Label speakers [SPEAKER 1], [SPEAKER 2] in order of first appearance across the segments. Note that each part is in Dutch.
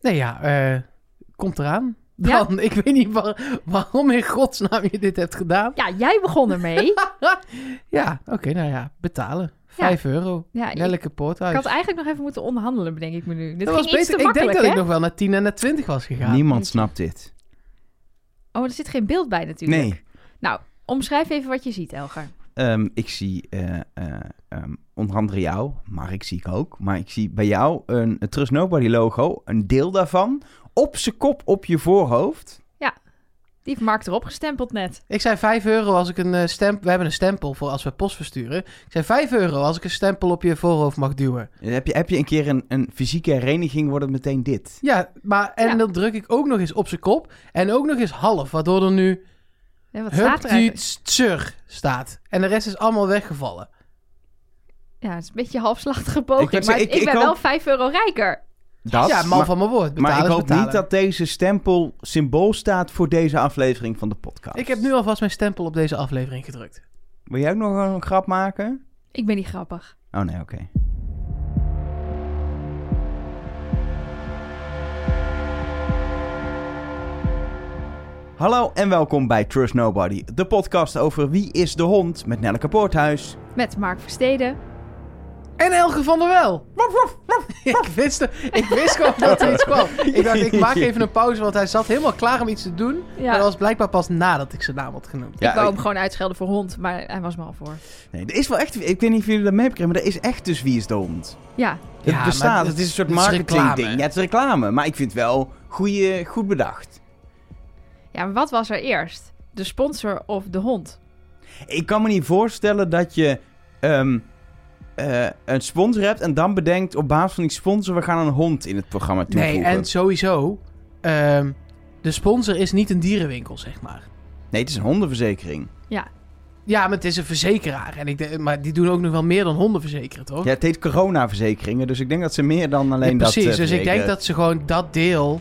[SPEAKER 1] Nee, ja, eh, komt eraan.
[SPEAKER 2] Ja?
[SPEAKER 1] Dan, ik weet niet waar- waarom in godsnaam je dit hebt gedaan.
[SPEAKER 2] Ja, jij begon ermee.
[SPEAKER 1] Ja, oké, nou ja, betalen. Vijf euro.
[SPEAKER 2] Ja, ik,
[SPEAKER 1] Nelleke
[SPEAKER 2] ik
[SPEAKER 1] Poorthuis.
[SPEAKER 2] had eigenlijk nog even moeten onderhandelen, bedenk ik me nu. Dit
[SPEAKER 1] dat was
[SPEAKER 2] ging iets
[SPEAKER 1] beter.
[SPEAKER 2] te
[SPEAKER 1] Ik denk
[SPEAKER 2] makkelijk,
[SPEAKER 1] dat
[SPEAKER 2] hè?
[SPEAKER 1] ik nog wel naar 10 en naar 20 was gegaan.
[SPEAKER 3] Niemand snapt dit.
[SPEAKER 2] Oh, er zit geen beeld bij natuurlijk.
[SPEAKER 3] Nee.
[SPEAKER 2] Omschrijf even wat je ziet, Elger.
[SPEAKER 3] Ehm, ik zie eh, eh, ehm, onder andere jou, maar ik zie ik ook. Maar ik zie bij jou een Trust Nobody logo, een deel daarvan, op zijn kop op je voorhoofd.
[SPEAKER 2] Die heeft Mark erop gestempeld net.
[SPEAKER 1] Ik zei 5 euro als ik een eh, stempel... We hebben een stempel voor als we post versturen. Ik zei 5 euro als ik een stempel op je voorhoofd mag duwen.
[SPEAKER 3] Eh, Heb je, heb je een keer een, een fysieke hereniging, wordt het meteen dit.
[SPEAKER 1] Ja, maar... En
[SPEAKER 2] Ja.
[SPEAKER 1] dan druk ik ook nog eens op zijn kop. En ook nog eens half, waardoor er nu...
[SPEAKER 2] Ja, wat staat er eigenlijk?
[SPEAKER 1] Huptitsur staat. En de rest is allemaal weggevallen.
[SPEAKER 2] Ja, het is een beetje een halfslachtige poging.
[SPEAKER 3] Ik wou
[SPEAKER 2] maar
[SPEAKER 3] zeggen,
[SPEAKER 2] ik,
[SPEAKER 3] ik-
[SPEAKER 2] ben
[SPEAKER 3] ik
[SPEAKER 2] wel
[SPEAKER 3] hoop-
[SPEAKER 2] 5 euro rijker.
[SPEAKER 3] Dat,
[SPEAKER 1] ja, man
[SPEAKER 3] maar,
[SPEAKER 1] van mijn woord.
[SPEAKER 3] maar
[SPEAKER 1] Betalen
[SPEAKER 3] ik
[SPEAKER 1] is
[SPEAKER 3] hoop
[SPEAKER 1] betalen.
[SPEAKER 3] niet dat deze stempel symbool staat voor deze aflevering van de podcast.
[SPEAKER 1] Ik heb nu alvast mijn stempel op deze aflevering gedrukt.
[SPEAKER 3] Wil jij ook nog een grap maken?
[SPEAKER 2] Ik ben niet grappig.
[SPEAKER 3] Oh nee, oké. Hallo en welkom bij Trust Nobody, de podcast over Wie is de Hond met Nelleke Poorthuis.
[SPEAKER 2] Met Mark Versteden.
[SPEAKER 1] En Elge van der Wel. ik, wist, ik wist gewoon dat er iets kwam. Ik dacht, ik maak even een pauze, want hij zat helemaal klaar om iets te doen.
[SPEAKER 2] Ja,
[SPEAKER 1] Maar dat was blijkbaar pas nadat ik zijn naam had genoemd.
[SPEAKER 2] ik wou hem gewoon uitschelden voor hond, maar hij was me al voor.
[SPEAKER 3] nee, er is wel echt, ik weet niet of jullie dat mee hebben gekregen, maar er is echt dus Wie is de Hond.
[SPEAKER 2] Ja,
[SPEAKER 3] Het
[SPEAKER 1] Ja, maar
[SPEAKER 3] bestaat,
[SPEAKER 1] het-
[SPEAKER 3] het is een soort
[SPEAKER 1] het is
[SPEAKER 3] marketingding.
[SPEAKER 1] reclame.
[SPEAKER 3] Ja, het is reclame, maar ik vind het wel goeie, goed bedacht.
[SPEAKER 2] ja maar wat was er eerst? De sponsor of de hond?
[SPEAKER 3] Ik kan me niet voorstellen dat je ehm, eh, een sponsor hebt en dan bedenkt op basis van die sponsor, we gaan een hond in het programma toevoegen.
[SPEAKER 1] Nee, en sowieso. ehm, de sponsor is niet een dierenwinkel, zeg maar.
[SPEAKER 3] Nee, het is een hondenverzekering.
[SPEAKER 1] Ja, maar het is een verzekeraar. En ik denk, maar die doen ook nog wel meer dan honden verzekeren, toch?
[SPEAKER 3] Ja, het heet coronaverzekeringen, dus ik denk dat ze meer dan alleen
[SPEAKER 1] Ja,
[SPEAKER 3] dat...
[SPEAKER 1] precies,
[SPEAKER 3] eh,
[SPEAKER 1] dus ik denk
[SPEAKER 3] verzekeren.
[SPEAKER 1] dat ze gewoon dat deel...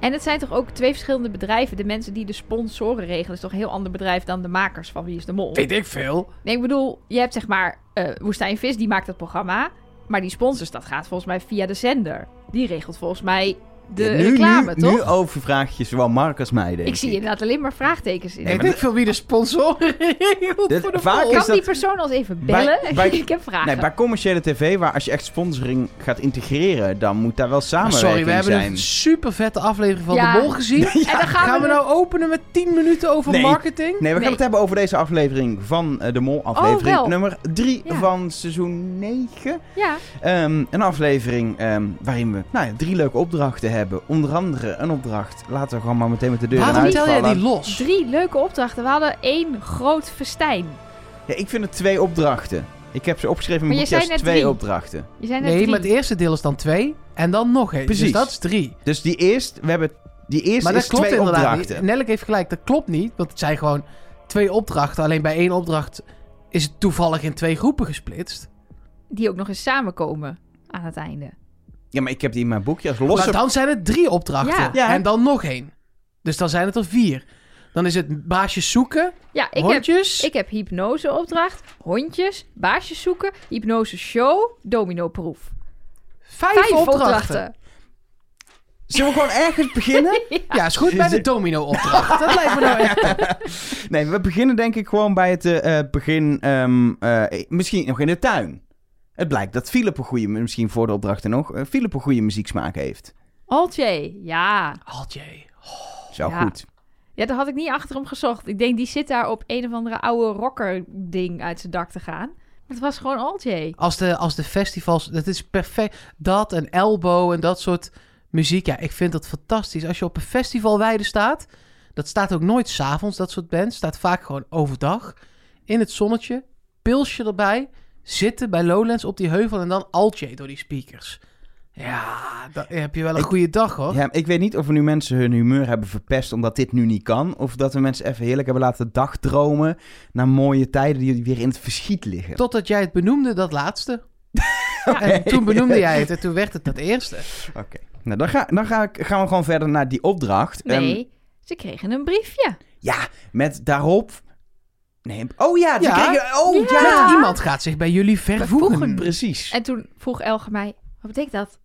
[SPEAKER 2] En het zijn toch ook twee verschillende bedrijven. De mensen die de sponsoren regelen is toch een heel ander bedrijf dan de makers van Wie is de Mol.
[SPEAKER 1] Weet ik veel.
[SPEAKER 2] Nee, ik bedoel, je hebt zeg maar eh Woestijn Vis, die maakt dat programma. Maar die sponsors, dat gaat volgens mij via de zender. Die regelt volgens mij de
[SPEAKER 3] Ja, nu,
[SPEAKER 2] reclame,
[SPEAKER 3] nu,
[SPEAKER 2] toch?
[SPEAKER 3] Nu overvraag je zowel Mark als mij, denk
[SPEAKER 2] ik zie inderdaad alleen maar vraagtekens in.
[SPEAKER 3] Nee,
[SPEAKER 1] weet
[SPEAKER 3] maar
[SPEAKER 1] ik veel wie de sponsor regelt
[SPEAKER 3] Dit-
[SPEAKER 1] voor de
[SPEAKER 3] vaak
[SPEAKER 1] vaak
[SPEAKER 2] kan
[SPEAKER 3] is dat-
[SPEAKER 2] die persoon ons even
[SPEAKER 3] Bij-
[SPEAKER 2] bellen?
[SPEAKER 3] bij-
[SPEAKER 2] ik heb vragen.
[SPEAKER 3] Nee, bij commerciële tv, waar als je echt sponsoring gaat integreren, dan moet daar wel samenwerking
[SPEAKER 1] Ah, Sorry, we hebben
[SPEAKER 3] zijn.
[SPEAKER 1] een super vette aflevering van
[SPEAKER 2] Ja.
[SPEAKER 1] De Mol gezien.
[SPEAKER 2] en dan gaan,
[SPEAKER 1] Gaan we nou openen met 10 minuten over
[SPEAKER 3] Nee.
[SPEAKER 1] marketing?
[SPEAKER 3] Nee, we gaan
[SPEAKER 2] Nee.
[SPEAKER 3] het hebben over deze aflevering van eh, de
[SPEAKER 1] Oh,
[SPEAKER 3] Mol, aflevering
[SPEAKER 2] wel.
[SPEAKER 3] nummer 3
[SPEAKER 2] Ja.
[SPEAKER 3] van seizoen 9.
[SPEAKER 2] Ja,
[SPEAKER 3] Ehm, een aflevering ehm, waarin we nou ja, drie leuke opdrachten hebben. Onder andere een opdracht. Laten we gewoon maar meteen met de deur in
[SPEAKER 1] Waarom
[SPEAKER 3] huis
[SPEAKER 1] tel jij
[SPEAKER 3] vallen.
[SPEAKER 1] die los?
[SPEAKER 2] drie leuke opdrachten. We hadden één groot festijn.
[SPEAKER 3] Ja, ik vind het twee opdrachten. Ik heb ze opgeschreven in mijn
[SPEAKER 2] Maar je
[SPEAKER 3] boekje als
[SPEAKER 2] zei net
[SPEAKER 3] twee
[SPEAKER 2] drie.
[SPEAKER 3] opdrachten.
[SPEAKER 2] Je zijn er
[SPEAKER 1] Nee,
[SPEAKER 2] drie.
[SPEAKER 1] maar het eerste deel is dan 2 en dan nog één. Dus
[SPEAKER 3] Precies.
[SPEAKER 1] dat is 3.
[SPEAKER 3] Dus die eerst, we hebben die eerste
[SPEAKER 1] Maar dat
[SPEAKER 3] is
[SPEAKER 1] klopt
[SPEAKER 3] twee
[SPEAKER 1] inderdaad
[SPEAKER 3] opdrachten.
[SPEAKER 1] niet. Nelleke heeft gelijk, dat klopt niet. Want het zijn gewoon twee opdrachten. Alleen bij één opdracht is het toevallig in twee groepen gesplitst.
[SPEAKER 2] Die ook nog eens samenkomen aan het einde.
[SPEAKER 3] Ja, maar ik heb die in mijn boekje als losse.
[SPEAKER 1] Maar dan zijn het drie opdrachten.
[SPEAKER 2] Ja.
[SPEAKER 3] Ja.
[SPEAKER 1] En dan nog één. Dus dan zijn het er vier. Dan is het baasjes zoeken,
[SPEAKER 2] Ja, ik heb,
[SPEAKER 1] hondjes.
[SPEAKER 2] ik heb hypnose opdracht, hondjes, baasjes zoeken, hypnose show, domino proef.
[SPEAKER 1] Vijf,
[SPEAKER 2] Vijf
[SPEAKER 1] opdrachten.
[SPEAKER 2] opdrachten.
[SPEAKER 3] Zullen we gewoon ergens beginnen?
[SPEAKER 1] Ja, is goed bij de domino-opdracht. Dat lijkt me nou echt.
[SPEAKER 3] Nee, we beginnen denk ik gewoon bij het eh, eh, begin. ehm, eh, misschien nog in de tuin. Het blijkt dat Philip een goede, misschien voor de opdrachten nog, eh, Philip een goede muzieksmaak heeft.
[SPEAKER 2] Altje, ja.
[SPEAKER 1] Altje.
[SPEAKER 3] Zo
[SPEAKER 2] Ja.
[SPEAKER 3] goed.
[SPEAKER 2] Ja, daar had ik niet achter hem gezocht. Ik denk, die zit daar op een of andere oude rocker-ding uit zijn dak te gaan. Maar het was gewoon Altje.
[SPEAKER 1] Als de, als de festivals, dat is perfect. Dat en elbow en dat soort muziek. Ja, ik vind dat fantastisch. Als je op een festivalweide staat, dat staat ook nooit s'avonds, dat soort bands. Staat vaak gewoon overdag in het zonnetje, pilsje erbij, zitten bij Lowlands op die heuvel en dan altje door die speakers. Ja, dan heb je wel een
[SPEAKER 3] Ik-
[SPEAKER 1] goede dag hoor.
[SPEAKER 3] Ja, ik weet niet of we nu mensen hun humeur hebben verpest omdat dit nu niet kan. Of dat we mensen even heerlijk hebben laten dagdromen naar mooie tijden die weer in het verschiet liggen.
[SPEAKER 1] Totdat jij het benoemde, dat laatste. En toen benoemde jij het en toen werd het dat eerste.
[SPEAKER 3] Oké. Nou, dan, ga, dan ga ik, gaan we gewoon verder naar die opdracht. Ehm,
[SPEAKER 2] Nee, ze kregen een briefje.
[SPEAKER 3] ja, met daarop... Nee, oh ja, ze
[SPEAKER 1] Ja.
[SPEAKER 3] kregen- Oh ja!
[SPEAKER 2] Ja.
[SPEAKER 1] Maar iemand gaat zich bij jullie vervoegen.
[SPEAKER 2] Vervoegen.
[SPEAKER 3] Precies.
[SPEAKER 2] En toen vroeg Elge mij, wat betekent dat?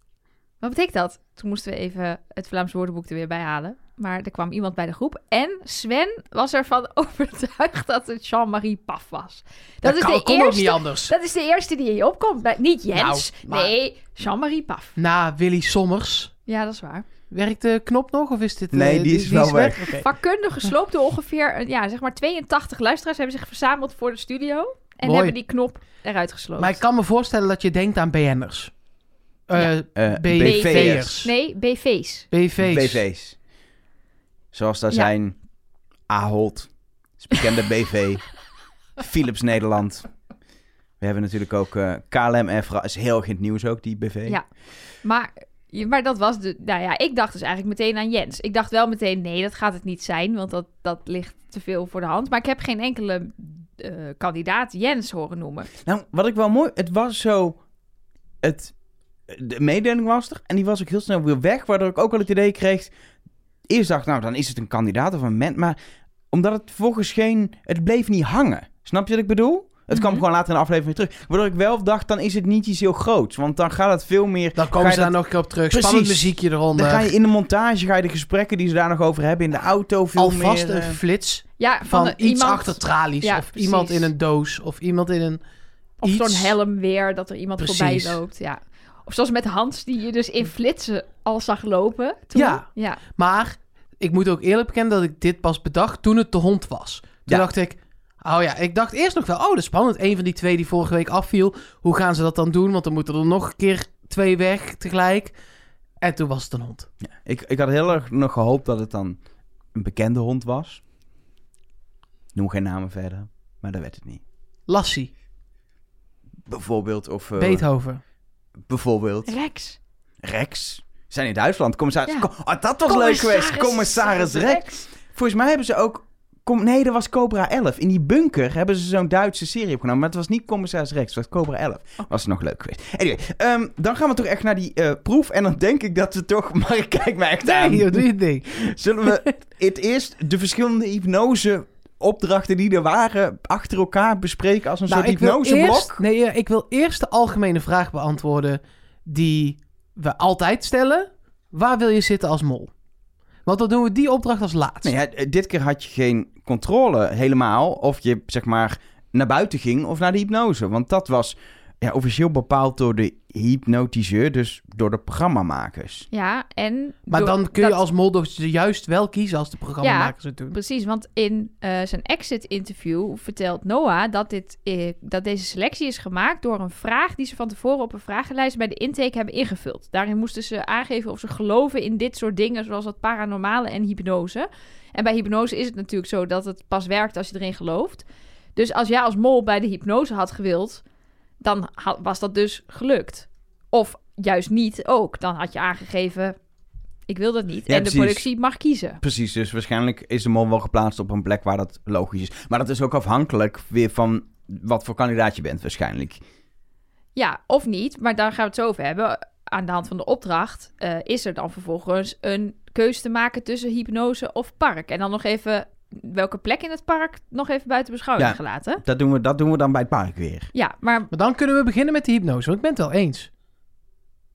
[SPEAKER 2] Wat betekent dat? Toen moesten we even het Vlaams woordenboek er weer bij halen. Maar er kwam iemand bij de groep. En Sven was ervan overtuigd dat het Jean-Marie Paf was. Dat, is
[SPEAKER 1] kan,
[SPEAKER 2] de
[SPEAKER 1] kon ook niet
[SPEAKER 2] eerste,
[SPEAKER 1] anders.
[SPEAKER 2] dat is de eerste die in je opkomt. Nou, niet Jens.
[SPEAKER 1] Nou, maar-
[SPEAKER 2] Nee, Jean-Marie Paf.
[SPEAKER 1] Na Willy Sommers.
[SPEAKER 2] Ja, dat is waar.
[SPEAKER 1] Werkt de knop nog? Of is dit... eh,
[SPEAKER 3] Nee, die is wel weg.
[SPEAKER 1] Oké.
[SPEAKER 2] Vakkundig gesloopt door ongeveer eh, ja, zeg maar 82 luisteraars hebben zich verzameld voor de studio. En
[SPEAKER 1] Mooi.
[SPEAKER 2] hebben die knop eruit gesloopt.
[SPEAKER 1] Maar ik kan me voorstellen dat je denkt aan BN'ers. Eh
[SPEAKER 3] Eh,
[SPEAKER 1] B-
[SPEAKER 3] BV'ers.
[SPEAKER 2] Nee, BV's.
[SPEAKER 1] BV's.
[SPEAKER 3] BV's. Zoals daar
[SPEAKER 2] Ja.
[SPEAKER 3] zijn Ahold, is bekende BV, Philips Nederland. We hebben natuurlijk ook eh, KLM Evra, is heel erg in het nieuws ook, die BV.
[SPEAKER 2] Ja. Maar, je- maar dat was de. Nou ja, ik dacht dus eigenlijk meteen aan Jens. Ik dacht wel meteen: nee, dat gaat het niet zijn, want dat, dat ligt te veel voor de hand. Maar ik heb geen enkele eh, kandidaat Jens horen noemen.
[SPEAKER 3] Nou, wat ik wel mooi... Het was zo... Het, de mededeling was er en die was ook heel snel weer weg. Waardoor ik ook wel het idee kreeg... Eerst dacht ik, nou, dan is het een kandidaat of een mens. Maar omdat het volgens geen... Het bleef niet hangen. Snap je wat ik bedoel? Het kwam
[SPEAKER 2] Mhm.
[SPEAKER 3] gewoon later in de aflevering weer terug. Waardoor ik wel dacht, dan is het niet iets heel groots. Want dan gaat het veel meer...
[SPEAKER 1] Dan
[SPEAKER 3] Ga
[SPEAKER 1] komen
[SPEAKER 3] je
[SPEAKER 1] ze daar
[SPEAKER 3] dat-
[SPEAKER 1] nog een keer op terug.
[SPEAKER 3] Precies.
[SPEAKER 1] Spannend muziekje eronder.
[SPEAKER 3] Dan ga je in de montage, ga je de gesprekken die ze daar nog over hebben in de auto veel
[SPEAKER 1] Alvast
[SPEAKER 3] meer... eh,
[SPEAKER 1] een flits
[SPEAKER 2] Ja, van,
[SPEAKER 1] van,
[SPEAKER 2] een-
[SPEAKER 1] iets
[SPEAKER 2] iemand,
[SPEAKER 1] achter tralies.
[SPEAKER 2] Ja,
[SPEAKER 1] of
[SPEAKER 2] precies.
[SPEAKER 1] iemand in een doos. Of iemand in een...
[SPEAKER 2] Of zo'n
[SPEAKER 1] iets.
[SPEAKER 2] helm weer, dat er iemand
[SPEAKER 1] Precies.
[SPEAKER 2] voorbij loopt. Ja. Of zoals met Hans, die je dus in flitsen al zag lopen. Toen.
[SPEAKER 1] Ja.
[SPEAKER 2] ja.
[SPEAKER 1] Maar ik moet ook eerlijk bekennen dat ik dit pas bedacht toen het de hond was. Toen
[SPEAKER 3] Ja.
[SPEAKER 1] dacht ik, oh ja, ik dacht eerst nog wel, oh dat is spannend. Eén van die twee die vorige week afviel. Hoe gaan ze dat dan doen? Want dan moeten er nog een keer twee weg tegelijk. En toen was het een hond.
[SPEAKER 3] Ik, ik had heel erg nog gehoopt dat het dan een bekende hond was. Noem geen namen verder, maar dat werd het niet.
[SPEAKER 1] Lassie,
[SPEAKER 3] Bijvoorbeeld, of... eh,
[SPEAKER 1] Beethoven.
[SPEAKER 3] Bijvoorbeeld,
[SPEAKER 2] Rex.
[SPEAKER 3] Rex. We Zijn in Duitsland, commissaris...
[SPEAKER 2] Ja.
[SPEAKER 3] Kom- oh, dat was leuk geweest, commissaris Rex. Volgens mij hebben ze ook... Kom, nee, dat was Cobra 11. In die bunker hebben ze zo'n Duitse serie opgenomen. Maar het was niet Commissaris Rex, het was Cobra 11. Was nog leuk geweest. Anyway, ehm, dan gaan we toch echt naar die eh, proef. En dan denk ik dat we toch... Maar ik kijk me echt aan.
[SPEAKER 1] Nee, joh, doe je ding.
[SPEAKER 3] Zullen we het eerst de verschillende hypnose opdrachten die er waren achter elkaar bespreken als een
[SPEAKER 1] Nou,
[SPEAKER 3] soort
[SPEAKER 1] ik wil, eerst,
[SPEAKER 3] hypnoseblok?
[SPEAKER 1] nee, eh, ik wil eerst de algemene vraag beantwoorden die we altijd stellen. Waar wil je zitten als mol? Want dan doen we die opdracht als laatst.
[SPEAKER 3] Nee, ja, dit keer had je geen controle helemaal of je zeg maar naar buiten ging of naar de hypnose, want dat was ja, officieel bepaald door de hypnotiseur, dus door de programmamakers.
[SPEAKER 2] Ja, en...
[SPEAKER 1] Maar
[SPEAKER 2] door-
[SPEAKER 1] dan kun je
[SPEAKER 2] dat-
[SPEAKER 1] als mol dus juist wel kiezen als de programmamakers het doen.
[SPEAKER 2] Precies, want in eh, zijn exit-interview vertelt Noah dat, dit, eh, dat deze selectie is gemaakt door een vraag die ze van tevoren op een vragenlijst bij de intake hebben ingevuld. Daarin moesten ze aangeven of ze geloven in dit soort dingen, zoals dat paranormale en hypnose. En bij hypnose is het natuurlijk zo dat het pas werkt als je erin gelooft. Dus als jij als mol bij de hypnose had gewild, dan ha- was dat dus gelukt. Of juist niet ook. Dan had je aangegeven, ik wil dat niet.
[SPEAKER 3] Ja,
[SPEAKER 2] en
[SPEAKER 3] precies.
[SPEAKER 2] de productie mag kiezen.
[SPEAKER 3] Precies, dus waarschijnlijk is de mol wel geplaatst op een plek waar dat logisch is. Maar dat is ook afhankelijk weer van wat voor kandidaat je bent waarschijnlijk.
[SPEAKER 2] Ja, of niet, maar daar gaan we het zo over hebben. Aan de hand van de opdracht eh, is er dan vervolgens een keus te maken tussen hypnose of park. En dan nog even welke plek in het park nog even buiten beschouwing
[SPEAKER 3] Ja.
[SPEAKER 2] gelaten.
[SPEAKER 3] Dat doen we, dat doen we dan bij het park weer.
[SPEAKER 2] Ja, maar
[SPEAKER 1] Maar dan kunnen we beginnen met de hypnose, want ik ben het wel eens.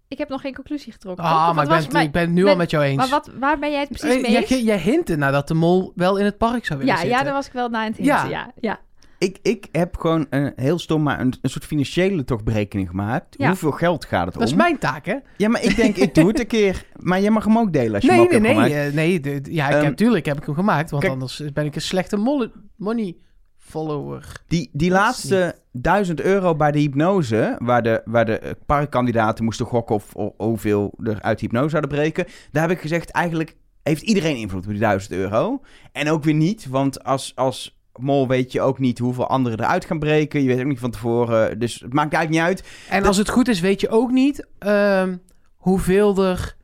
[SPEAKER 2] ik heb nog geen conclusie getrokken. toch?
[SPEAKER 1] Ah, maar
[SPEAKER 2] Of wat
[SPEAKER 1] ik
[SPEAKER 2] was
[SPEAKER 1] ben, het, ik ben het nu
[SPEAKER 2] met-
[SPEAKER 1] al met jou eens.
[SPEAKER 2] Maar wat, waar ben jij het precies
[SPEAKER 1] Eh,
[SPEAKER 2] mee
[SPEAKER 1] jij,
[SPEAKER 2] eens?
[SPEAKER 1] jij, hint ernaar dat de mol wel in het park zou willen
[SPEAKER 2] ja, ja,
[SPEAKER 1] zitten.
[SPEAKER 2] daar was ik wel na aan het hinten. Ja,
[SPEAKER 1] Ja.
[SPEAKER 2] ja,
[SPEAKER 3] Ik, ik heb gewoon een heel stom, maar een, een soort financiële toch berekening gemaakt.
[SPEAKER 2] Ja.
[SPEAKER 3] Hoeveel geld gaat het
[SPEAKER 1] Dat is
[SPEAKER 3] om?
[SPEAKER 1] mijn taak, hè?
[SPEAKER 3] Ja, maar ik denk, ik doe het een keer. Maar jij mag hem ook delen als je
[SPEAKER 1] Nee,
[SPEAKER 3] hem
[SPEAKER 1] nee,
[SPEAKER 3] ook
[SPEAKER 1] nee.
[SPEAKER 3] hebt gemaakt.
[SPEAKER 1] eh, nee de- de- ja, ik
[SPEAKER 3] Ehm,
[SPEAKER 1] heb, tuurlijk heb ik hem gemaakt, want
[SPEAKER 3] kijk-
[SPEAKER 1] anders ben ik een slechte mol money follower.
[SPEAKER 3] Die, die
[SPEAKER 1] dat is
[SPEAKER 3] laatste 1000 euro bij de hypnose, waar de, waar de eh, parkkandidaten moesten gokken of, of hoeveel er uit hypnose zouden breken. Daar heb ik gezegd, eigenlijk heeft iedereen invloed op die 1000 euro. En ook weer niet, want als, als mol weet je ook niet hoeveel anderen eruit gaan breken. Je weet ook niet van tevoren, dus het maakt eigenlijk niet uit.
[SPEAKER 1] En als het goed is, weet je ook niet ehm, hoeveel er.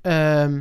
[SPEAKER 1] ehm,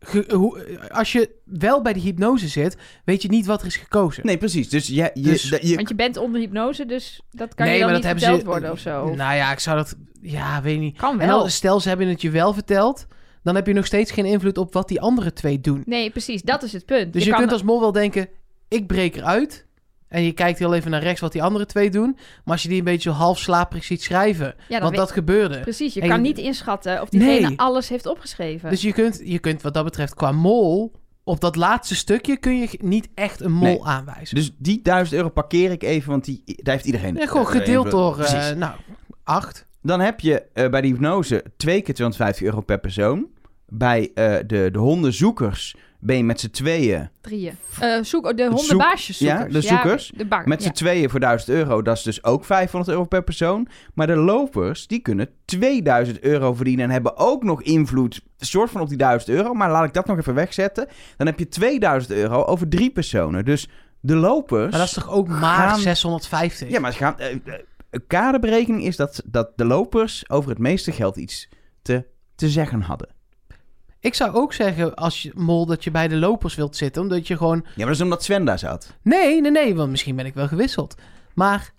[SPEAKER 1] ge- hoe- als je wel bij de hypnose zit, weet je niet wat er is gekozen.
[SPEAKER 3] Nee, precies. Dus je, je,
[SPEAKER 1] Dus-
[SPEAKER 3] dat- je
[SPEAKER 2] Want je bent onder hypnose, dus dat kan je dan niet
[SPEAKER 1] hebben
[SPEAKER 2] verteld worden of zo.
[SPEAKER 1] Nou ja, ik zou dat. Ja, weet niet.
[SPEAKER 2] kan
[SPEAKER 1] En
[SPEAKER 2] wel.
[SPEAKER 1] als, stel, ze hebben het je wel verteld. Dan heb je nog steeds geen invloed op wat die andere twee doen.
[SPEAKER 2] Nee, precies, dat is het punt.
[SPEAKER 1] Dus je,
[SPEAKER 2] kan
[SPEAKER 1] kunt als mol wel denken: ik breek eruit. En je kijkt heel even naar rechts wat die andere twee doen. Maar als je die een beetje half slaperig ziet schrijven,
[SPEAKER 2] Ja, dan
[SPEAKER 1] want
[SPEAKER 2] weet-
[SPEAKER 1] dat gebeurde.
[SPEAKER 2] Precies, je
[SPEAKER 1] en-
[SPEAKER 2] kan niet inschatten of diegene
[SPEAKER 1] Nee.
[SPEAKER 2] alles heeft opgeschreven.
[SPEAKER 1] Dus je kunt, je kunt wat dat betreft qua mol, op dat laatste stukje kun je niet echt een mol
[SPEAKER 3] Nee.
[SPEAKER 1] aanwijzen.
[SPEAKER 3] Dus die 1000 euro parkeer ik even, want die, daar heeft iedereen.
[SPEAKER 1] Ja, gewoon
[SPEAKER 3] eh,
[SPEAKER 1] gedeeld
[SPEAKER 3] eh,
[SPEAKER 1] door, eh,
[SPEAKER 3] Precies.
[SPEAKER 1] nou, acht.
[SPEAKER 3] Dan heb je eh, bij de hypnose twee keer 250 euro per persoon. Bij eh, de, de hondenzoekers ben je met z'n tweeën.
[SPEAKER 2] Drieën. Eh, zoek, de hondenbaasjes
[SPEAKER 3] ja,
[SPEAKER 2] zoekers.
[SPEAKER 3] de zoekers.
[SPEAKER 2] de bank.
[SPEAKER 3] Met z'n
[SPEAKER 2] ja.
[SPEAKER 3] tweeën voor 1000 euro, dat is dus ook 500 euro per persoon. Maar de lopers, die kunnen 2000 euro verdienen en hebben ook nog invloed, soort van op die 1000 euro. Maar laat ik dat nog even wegzetten. Dan heb je 2000 euro over drie personen. Dus de lopers...
[SPEAKER 1] Maar dat is toch ook maar
[SPEAKER 3] gaan-
[SPEAKER 1] 650?
[SPEAKER 3] Ja, maar ze gaan, eh, eh, een kaderberekening is dat, dat de lopers over het meeste geld iets te, te zeggen hadden.
[SPEAKER 1] Ik zou ook zeggen als je mol dat je bij de lopers wilt zitten, omdat je gewoon...
[SPEAKER 3] Ja, maar dat is omdat Sven daar zat.
[SPEAKER 1] Nee, nee, nee, want misschien ben ik wel gewisseld. Maar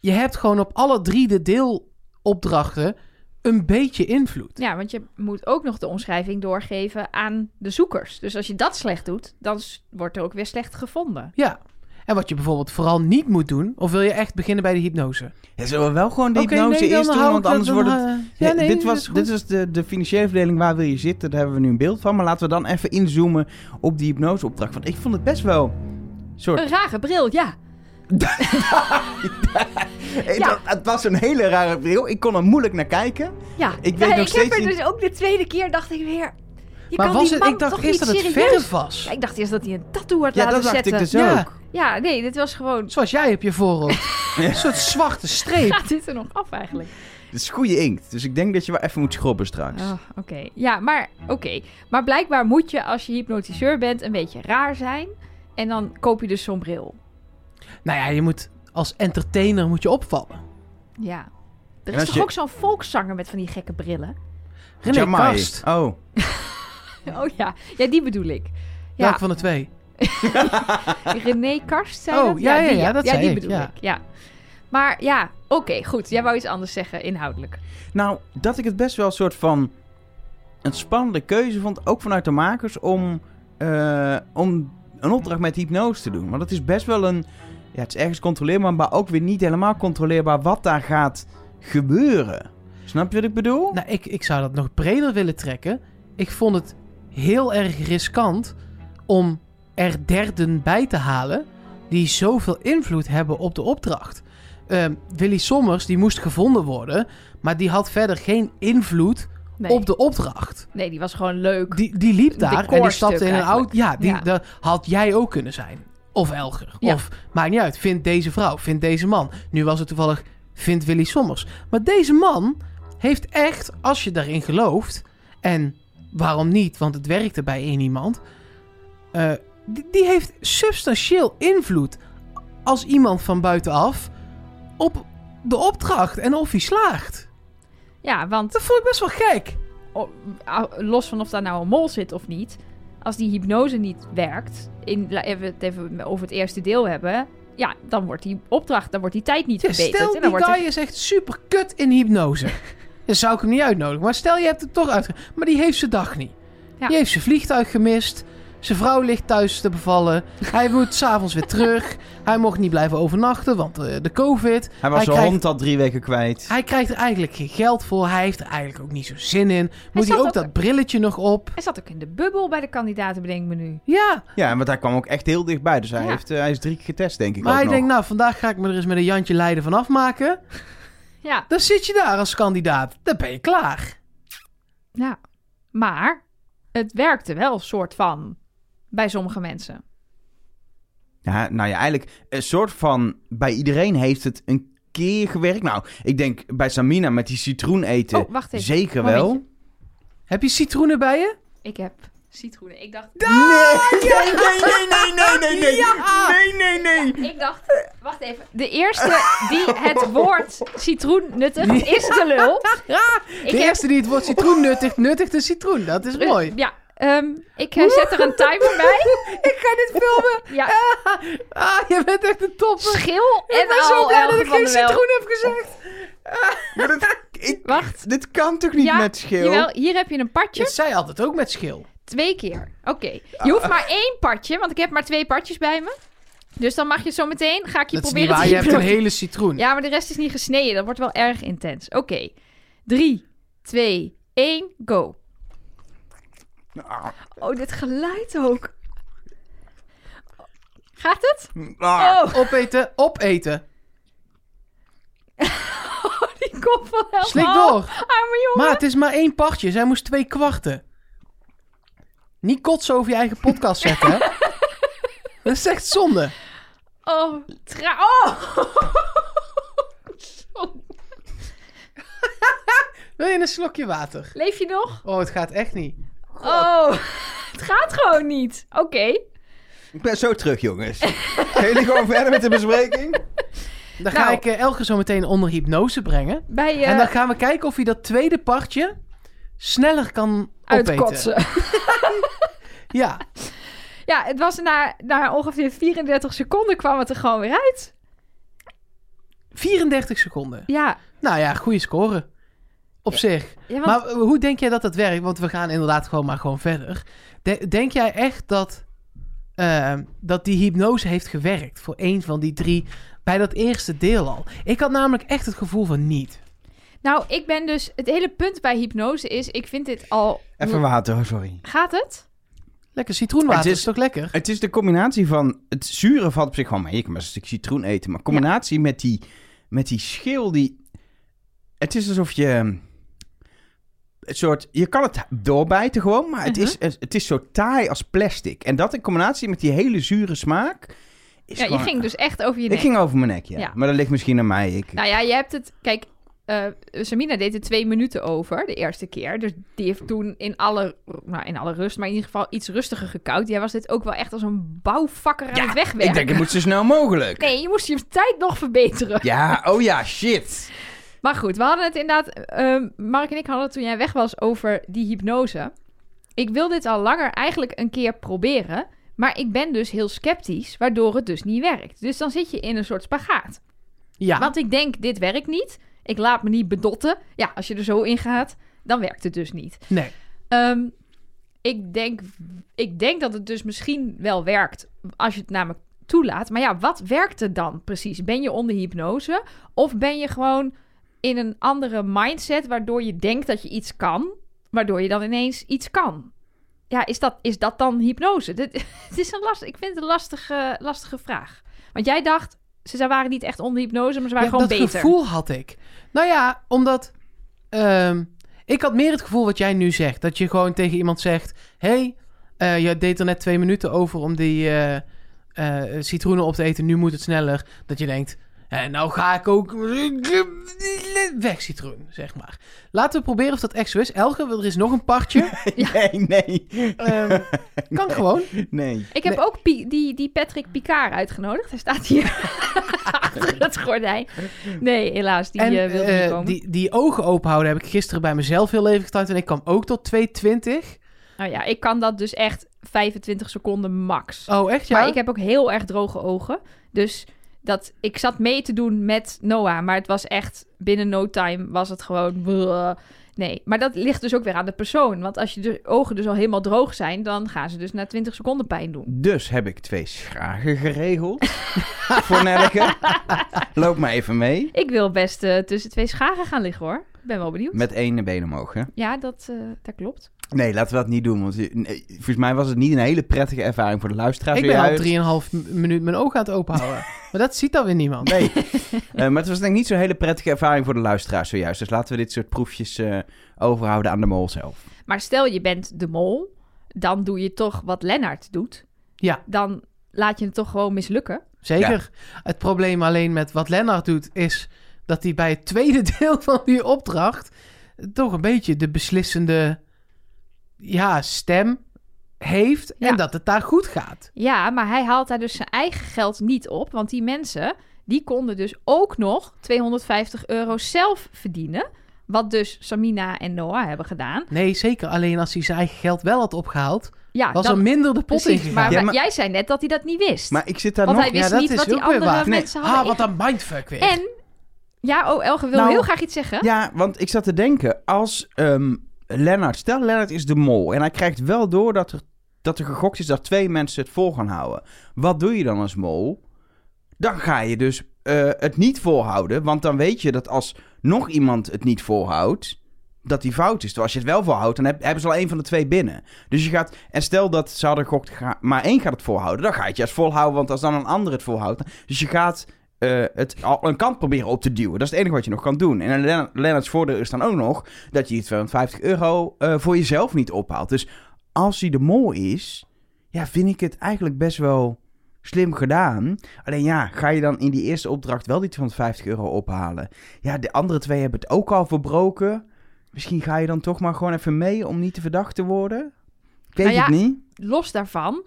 [SPEAKER 1] je hebt gewoon op alle drie de deelopdrachten een beetje invloed.
[SPEAKER 2] Ja, want je moet ook nog de omschrijving doorgeven aan de zoekers. Dus als je dat slecht doet, dan s- wordt er ook weer slecht gevonden.
[SPEAKER 1] Ja. En wat je bijvoorbeeld vooral niet moet doen, of wil je echt beginnen bij de hypnose?
[SPEAKER 3] Ja, zullen we wel gewoon de
[SPEAKER 1] Oké,
[SPEAKER 3] hypnose
[SPEAKER 1] nee, dan
[SPEAKER 3] eerst doen,
[SPEAKER 1] hou
[SPEAKER 3] want
[SPEAKER 1] ik-
[SPEAKER 3] anders
[SPEAKER 1] dan
[SPEAKER 3] wordt het...
[SPEAKER 1] hou-
[SPEAKER 3] Ja,
[SPEAKER 1] Ja, nee,
[SPEAKER 3] dit was,
[SPEAKER 1] is goed.
[SPEAKER 3] dit was de, de financiële verdeling waar wil je zitten. Daar hebben we nu een beeld van. Maar laten we dan even inzoomen op die hypnoseopdracht. Want ik vond het best wel... Soort...
[SPEAKER 2] Een rare bril, ja.
[SPEAKER 1] Eh,
[SPEAKER 3] Het-
[SPEAKER 2] ja.
[SPEAKER 3] Het was een hele rare bril. Ik kon er moeilijk naar kijken.
[SPEAKER 2] ja.
[SPEAKER 3] weet
[SPEAKER 2] Ja,
[SPEAKER 3] nog
[SPEAKER 2] ik
[SPEAKER 3] steeds
[SPEAKER 2] heb er
[SPEAKER 3] niet-
[SPEAKER 2] dus ook de tweede keer, dacht ik weer... Je
[SPEAKER 1] maar
[SPEAKER 2] kan
[SPEAKER 1] was
[SPEAKER 2] die
[SPEAKER 1] het,
[SPEAKER 2] man
[SPEAKER 1] ik dacht
[SPEAKER 2] toch
[SPEAKER 1] eerst
[SPEAKER 2] niet
[SPEAKER 1] dat het
[SPEAKER 2] serieus-
[SPEAKER 1] verf was.
[SPEAKER 2] Ja, ik dacht eerst dat hij een tattoo had
[SPEAKER 3] Ja,
[SPEAKER 2] laten
[SPEAKER 3] dat dacht
[SPEAKER 2] zetten.
[SPEAKER 3] ik dus
[SPEAKER 1] Ja.
[SPEAKER 3] ook.
[SPEAKER 2] Ja, nee, dit was gewoon...
[SPEAKER 1] Zoals jij op je voorhoofd. Een soort zwarte streep.
[SPEAKER 2] Gaat dit er nog af eigenlijk?
[SPEAKER 3] Het is goede inkt. Dus ik denk dat je wel even moet schrobben straks.
[SPEAKER 1] Ah.
[SPEAKER 2] Oh, oké. Ja, maar oké. Maar blijkbaar moet je als je hypnotiseur bent een beetje raar zijn. En dan koop je dus zo'n bril.
[SPEAKER 1] Nou ja, je moet als entertainer moet je opvallen.
[SPEAKER 2] Ja. Er
[SPEAKER 3] als
[SPEAKER 2] is toch
[SPEAKER 3] je-
[SPEAKER 2] ook zo'n volkszanger met van die gekke brillen?
[SPEAKER 1] René
[SPEAKER 3] Jamai.
[SPEAKER 1] Kast.
[SPEAKER 3] Oh.
[SPEAKER 2] Oh ja, ja die bedoel ik. Ja,
[SPEAKER 1] Welke van de twee?
[SPEAKER 2] René Karst zei
[SPEAKER 1] Oh,
[SPEAKER 2] dat?
[SPEAKER 1] ja, ja,
[SPEAKER 2] die,
[SPEAKER 1] ja, dat zei
[SPEAKER 2] die
[SPEAKER 1] ik,
[SPEAKER 2] bedoel
[SPEAKER 1] ja.
[SPEAKER 2] ik, ja. Maar ja, oké, goed. Jij wou iets anders zeggen, inhoudelijk.
[SPEAKER 3] Nou, dat ik het best wel een soort van een spannende keuze vond, ook vanuit de makers, om, eh, om een opdracht met hypnose te doen. Want het is best wel een, ja, het is ergens controleerbaar, maar ook weer niet helemaal controleerbaar wat daar gaat gebeuren. Snap je wat ik bedoel?
[SPEAKER 1] Nou, ik, ik zou dat nog breder willen trekken. Ik vond het heel erg riskant om er derden bij te halen die zoveel invloed hebben op de opdracht. Ehm, Willy Sommers, die moest gevonden worden, maar die had verder geen invloed
[SPEAKER 2] Nee,
[SPEAKER 1] op de opdracht.
[SPEAKER 2] nee die was gewoon leuk.
[SPEAKER 1] Die, die liep daar en die
[SPEAKER 2] decorstuk
[SPEAKER 1] stapte in een
[SPEAKER 2] eigenlijk.
[SPEAKER 1] auto. Ja, die,
[SPEAKER 2] Ja.
[SPEAKER 1] dat had jij ook kunnen zijn. Of Elger.
[SPEAKER 2] Ja.
[SPEAKER 1] Of, maakt niet uit, vind deze vrouw, vind deze man. Nu was het toevallig, vind Willy Sommers. Maar deze man heeft echt, als je daarin gelooft... en waarom niet, want het werkte bij één iemand... eh, die, die heeft substantieel invloed als iemand van buitenaf... op de opdracht en of hij slaagt.
[SPEAKER 2] Ja, want
[SPEAKER 1] Dat vond ik best wel gek.
[SPEAKER 2] o- a- los van of daar nou een mol zit of niet... als die hypnose niet werkt... In, laten we het even over het eerste deel hebben... ja, dan wordt die opdracht, dan wordt die tijd niet
[SPEAKER 1] Ja,
[SPEAKER 2] verbeterd.
[SPEAKER 1] Dus stel,
[SPEAKER 2] en dan
[SPEAKER 1] die
[SPEAKER 2] wordt er-
[SPEAKER 1] guy is echt super kut in hypnose. Dan zou ik hem niet uitnodigen. Maar stel, je hebt hem toch uit. Maar die heeft zijn dag niet.
[SPEAKER 2] Ja.
[SPEAKER 1] Die heeft zijn vliegtuig gemist. Zijn vrouw ligt thuis te bevallen. Hij moet s'avonds weer terug. Hij mocht niet blijven overnachten, want eh, de COVID. Hij
[SPEAKER 3] Hij was zijn
[SPEAKER 1] krijgt-
[SPEAKER 3] hond al drie weken kwijt.
[SPEAKER 1] Hij krijgt er eigenlijk geen geld voor. Hij heeft er eigenlijk ook niet zo zin in. Moet hij
[SPEAKER 2] zat
[SPEAKER 1] ook
[SPEAKER 2] ook-
[SPEAKER 1] dat brilletje nog op?
[SPEAKER 2] Hij zat ook in de bubbel bij de kandidaten, bedenk me nu.
[SPEAKER 1] Ja,
[SPEAKER 3] Ja, want hij kwam ook echt heel dichtbij. Dus hij,
[SPEAKER 2] Ja.
[SPEAKER 3] heeft, eh, hij is drie keer getest, denk ik
[SPEAKER 1] maar
[SPEAKER 3] ook
[SPEAKER 1] hij
[SPEAKER 3] nog.
[SPEAKER 1] denkt, nou, vandaag ga ik me er eens met een Jantje Leiden van afmaken.
[SPEAKER 2] Ja,
[SPEAKER 1] Dan zit je daar als kandidaat. Dan ben je klaar.
[SPEAKER 2] Ja, maar het werkte wel soort van bij sommige mensen.
[SPEAKER 3] Ja, nou ja, eigenlijk een soort van... Bij iedereen heeft het een keer gewerkt. Nou, ik denk bij Samina met die citroen eten...
[SPEAKER 2] Oh, wacht even.
[SPEAKER 3] zeker
[SPEAKER 2] Momentje.
[SPEAKER 3] wel.
[SPEAKER 1] Heb je citroenen bij je?
[SPEAKER 2] Ik heb citroenen. Ik dacht,
[SPEAKER 3] Nee, nee, nee, nee, nee, nee, nee, nee. Nee, nee, nee.
[SPEAKER 2] ik dacht, wacht even. De eerste die het woord citroen nuttigt is de lul. Ik
[SPEAKER 1] de
[SPEAKER 2] heb-
[SPEAKER 1] eerste die het woord citroen nuttigt, nuttigt een citroen. Dat is mooi.
[SPEAKER 2] Ja, ehm, ik eh, zet er een timer bij.
[SPEAKER 1] Ik ga dit filmen.
[SPEAKER 2] Ja,
[SPEAKER 1] Ah, je bent echt een topper.
[SPEAKER 2] schil en
[SPEAKER 1] Ik ben
[SPEAKER 2] al.
[SPEAKER 1] zo blij dat
[SPEAKER 2] Elge
[SPEAKER 1] ik
[SPEAKER 2] van
[SPEAKER 1] geen
[SPEAKER 2] der Wel.
[SPEAKER 1] citroen heb gezegd.
[SPEAKER 3] Maar dat, ik,
[SPEAKER 2] Wacht.
[SPEAKER 3] dit kan toch niet
[SPEAKER 2] Ja,
[SPEAKER 3] met schil?
[SPEAKER 2] Jawel, hier heb je een
[SPEAKER 1] Dat
[SPEAKER 2] partje.
[SPEAKER 1] zei altijd ook met schil.
[SPEAKER 2] Twee keer. Oké. Je hoeft maar één partje, want ik heb maar twee partjes bij me. Dus dan mag je zo meteen, ga ik je
[SPEAKER 1] dat is niet
[SPEAKER 2] proberen
[SPEAKER 1] waar.
[SPEAKER 2] te
[SPEAKER 1] Je hebt een
[SPEAKER 2] hypnotiseren.
[SPEAKER 1] hele citroen.
[SPEAKER 2] Ja, maar de rest is niet gesneden. Dat wordt wel erg intens. Oké. 3, 2, 1, go.
[SPEAKER 3] Ah,
[SPEAKER 2] Oh, dit geluid ook. Gaat het?
[SPEAKER 3] ah.
[SPEAKER 2] Oh,
[SPEAKER 1] Opeten, opeten.
[SPEAKER 2] oh, die kop van Elmo. Oh,
[SPEAKER 1] Slik door.
[SPEAKER 2] Arme jongen.
[SPEAKER 1] Maar het is maar één partje. Zij moest twee kwarten. Niet kotsen over je eigen podcast zetten, hè? Dat is echt zonde.
[SPEAKER 2] Oh, tra... Oh!
[SPEAKER 1] Wil je een slokje water?
[SPEAKER 2] Leef je nog?
[SPEAKER 1] Oh, het gaat echt niet.
[SPEAKER 2] Oh, het gaat gewoon niet. Oké.
[SPEAKER 3] Ik ben zo terug, jongens. Gaan jullie gewoon verder met de bespreking?
[SPEAKER 1] Dan ga
[SPEAKER 2] Nou.
[SPEAKER 1] ik eh, Elke zo meteen onder hypnose brengen.
[SPEAKER 2] Bij eh
[SPEAKER 1] En dan gaan we kijken of hij dat tweede partje sneller kan opeten.
[SPEAKER 2] uitkotsen.
[SPEAKER 1] Ja,
[SPEAKER 2] Ja, het was na, na ongeveer 34 seconden kwam het er gewoon weer uit.
[SPEAKER 1] 34 seconden.
[SPEAKER 2] Ja.
[SPEAKER 1] Nou ja, goede score. Op zich.
[SPEAKER 2] ja want-
[SPEAKER 1] Maar eh, hoe denk jij dat dat werkt? Want we gaan inderdaad gewoon maar gewoon verder. De- denk jij echt dat, ehm, dat die hypnose heeft gewerkt voor één van die drie bij dat eerste deel al? Ik had namelijk echt het gevoel van niet.
[SPEAKER 2] Nou, ik ben dus... Het hele punt bij hypnose is... Ik vind dit al...
[SPEAKER 3] Even water, oh, sorry.
[SPEAKER 2] Gaat het?
[SPEAKER 1] Lekker citroenwater
[SPEAKER 3] Het
[SPEAKER 1] is...
[SPEAKER 3] is-
[SPEAKER 1] toch lekker?
[SPEAKER 3] Het is de combinatie van... Het zure valt op zich gewoon mee. Je kan best een stuk citroen eten. Maar combinatie met, die, met die schil die... Het is alsof je... ehm, Het soort, je kan het doorbijten gewoon, maar het,
[SPEAKER 2] Uh-huh.
[SPEAKER 3] is, het, het is zo taai als plastic. En dat in combinatie met die hele zure smaak... Is
[SPEAKER 2] Ja, je
[SPEAKER 3] gewoon-
[SPEAKER 2] ging dus echt over je
[SPEAKER 3] Ik
[SPEAKER 2] nek.
[SPEAKER 3] ging over mijn nek, ja.
[SPEAKER 2] Ja.
[SPEAKER 3] Maar dat ligt misschien aan mij. Ik,
[SPEAKER 2] Nou ja, je hebt het... Kijk, eh Samina deed er twee minuten over de eerste keer. Dus die heeft toen in alle, nou, in alle rust, maar in ieder geval iets rustiger gekauwd. Jij was dit ook wel echt als een bouwvakker aan
[SPEAKER 3] Ja,
[SPEAKER 2] het
[SPEAKER 3] ik
[SPEAKER 2] wegwerken.
[SPEAKER 3] denk, het moet zo snel mogelijk.
[SPEAKER 2] Nee, je moest je tijd nog verbeteren.
[SPEAKER 3] Ja, oh ja, shit.
[SPEAKER 2] Maar goed, we hadden het inderdaad... ehm, Mark en ik hadden het toen jij weg was over die hypnose. Ik wil dit al langer eigenlijk een keer proberen. Maar ik ben dus heel sceptisch, waardoor het dus niet werkt. Dus dan zit je in een soort spagaat.
[SPEAKER 1] Ja.
[SPEAKER 2] Want ik denk, dit werkt niet. Ik laat me niet bedotten. Ja, als je er zo in gaat, dan werkt het dus niet.
[SPEAKER 1] Nee.
[SPEAKER 2] Ehm, ik, denk, ik denk dat het dus misschien wel werkt als je het namelijk toelaat. Maar ja, wat werkt er dan precies? Ben je onder hypnose of ben je gewoon in een andere mindset waardoor je denkt dat je iets kan, waardoor je dan ineens iets kan? Ja, is dat, is dat dan hypnose? Dit, het is een lastig, ik vind het een lastige, lastige vraag. Want jij dacht, ze ze waren niet echt onder hypnose, maar ze waren
[SPEAKER 1] Ja,
[SPEAKER 2] gewoon
[SPEAKER 1] dat
[SPEAKER 2] beter.
[SPEAKER 1] gevoel had ik. Nou ja, omdat... ehm, ik had meer het gevoel wat jij nu zegt. Dat je gewoon tegen iemand zegt... hey, eh, je deed er net twee minuten over om die eh, eh, citroenen op te eten. Nu moet het sneller. Dat je denkt... eh, nou ga ik ook weg citroen, zeg maar. Laten we proberen of dat echt zo is. Elke, er is nog een partje.
[SPEAKER 3] Nee, nee,
[SPEAKER 2] Eh.
[SPEAKER 1] Ehm, kan gewoon.
[SPEAKER 3] nee.
[SPEAKER 2] Ik heb ook Pi- die, die Patrick Picard uitgenodigd. Hij staat hier achter het gordijn. Nee, helaas, die eh, wilde
[SPEAKER 1] eh,
[SPEAKER 2] niet komen.
[SPEAKER 1] die, die ogen open houden heb ik gisteren bij mezelf heel even getuigd. En ik kwam ook tot 2.20.
[SPEAKER 2] Nou ja, ik kan dat dus echt 25 seconden max.
[SPEAKER 1] Oh, echt? Ja?
[SPEAKER 2] Maar ik heb ook heel erg droge ogen. Dus dat, ik zat mee te doen met Noah. Maar het was echt, binnen no time was het gewoon... bleh. Nee, maar dat ligt dus ook weer aan de persoon. Want als je de ogen dus al helemaal droog zijn... dan gaan ze dus na 20 seconden pijn doen.
[SPEAKER 3] Dus heb ik twee schragen geregeld voor Nelke. Loop maar even mee.
[SPEAKER 2] Ik wil best eh, tussen twee scharen gaan liggen hoor. Ik ben wel benieuwd.
[SPEAKER 3] Met één been omhoog, hè?
[SPEAKER 2] Ja, dat, eh, dat klopt.
[SPEAKER 3] Nee, laten we dat niet doen. Want je- nee, volgens mij was het niet een hele prettige ervaring voor de luisteraar.
[SPEAKER 1] Ik ben
[SPEAKER 3] zojuist.
[SPEAKER 1] al 3,5 m- minuut mijn ogen aan het openhouden. maar dat ziet dan weer niemand.
[SPEAKER 3] Nee, Eh, maar het was denk ik niet zo'n hele prettige ervaring voor de luisteraar zojuist. Dus laten we dit soort proefjes eh, overhouden aan de mol zelf.
[SPEAKER 2] Maar stel je bent de mol, dan doe je toch wat Lennart doet.
[SPEAKER 1] Ja.
[SPEAKER 2] Dan laat je het toch gewoon mislukken.
[SPEAKER 1] Zeker. Het probleem alleen met wat Lennart doet is dat hij bij het tweede deel van die opdracht toch een beetje de beslissende ja, stem heeft en
[SPEAKER 2] Ja.
[SPEAKER 1] dat het daar goed gaat.
[SPEAKER 2] Ja, maar hij haalt daar dus zijn eigen geld niet op. Want die mensen, die konden dus ook nog 250 euro zelf verdienen. Wat dus Samina en Noah hebben gedaan.
[SPEAKER 1] Nee, zeker. Alleen als hij zijn eigen geld wel had opgehaald,
[SPEAKER 2] Ja,
[SPEAKER 1] was
[SPEAKER 2] dan-
[SPEAKER 1] er minder de pot
[SPEAKER 2] precies.
[SPEAKER 1] in
[SPEAKER 2] Maar,
[SPEAKER 3] Ja,
[SPEAKER 2] maar
[SPEAKER 3] maar-
[SPEAKER 2] jij zei net dat hij dat niet wist.
[SPEAKER 3] Maar ik zit daar
[SPEAKER 2] want
[SPEAKER 3] nog...
[SPEAKER 2] hij wist
[SPEAKER 1] dat
[SPEAKER 2] niet
[SPEAKER 1] is
[SPEAKER 2] wat die
[SPEAKER 1] ook weer
[SPEAKER 2] andere
[SPEAKER 1] waar. Nee.
[SPEAKER 2] mensen hadden.
[SPEAKER 1] Ah, wat een mindfuck weer.
[SPEAKER 2] En, ja, oh, Elge wil
[SPEAKER 3] Nou,
[SPEAKER 2] heel graag iets zeggen.
[SPEAKER 3] Ja, want ik zat te denken, als ehm, Lennart, stel Lennart is de mol en hij krijgt wel door dat er, dat er gegokt is dat twee mensen het vol gaan houden. Wat doe je dan als mol? Dan ga je dus eh, het niet volhouden. Want dan weet je dat als nog iemand het niet volhoudt, dat die fout is. Terwijl als je het wel volhoudt, dan heb- hebben ze al één van de twee binnen. Dus je gaat... En stel dat ze hadden gokt, maar één gaat het volhouden. Dan ga je het juist volhouden, want als dan een ander het volhoudt... Dus je gaat eh, het al een kant proberen op te duwen. Dat is het enige wat je nog kan doen. En Lenn- Lennart's voordeel is dan ook nog... dat je die 250 euro eh, voor jezelf niet ophaalt. Dus als hij de mol is... Ja, vind ik het eigenlijk best wel slim gedaan. Alleen ja, ga je dan in die eerste opdracht wel die 250 euro ophalen? Ja, de andere twee hebben het ook al verbroken. Misschien ga je dan toch maar gewoon even mee om niet te verdacht te worden? Ik weet
[SPEAKER 2] Nou ja,
[SPEAKER 3] het niet.
[SPEAKER 2] Los daarvan,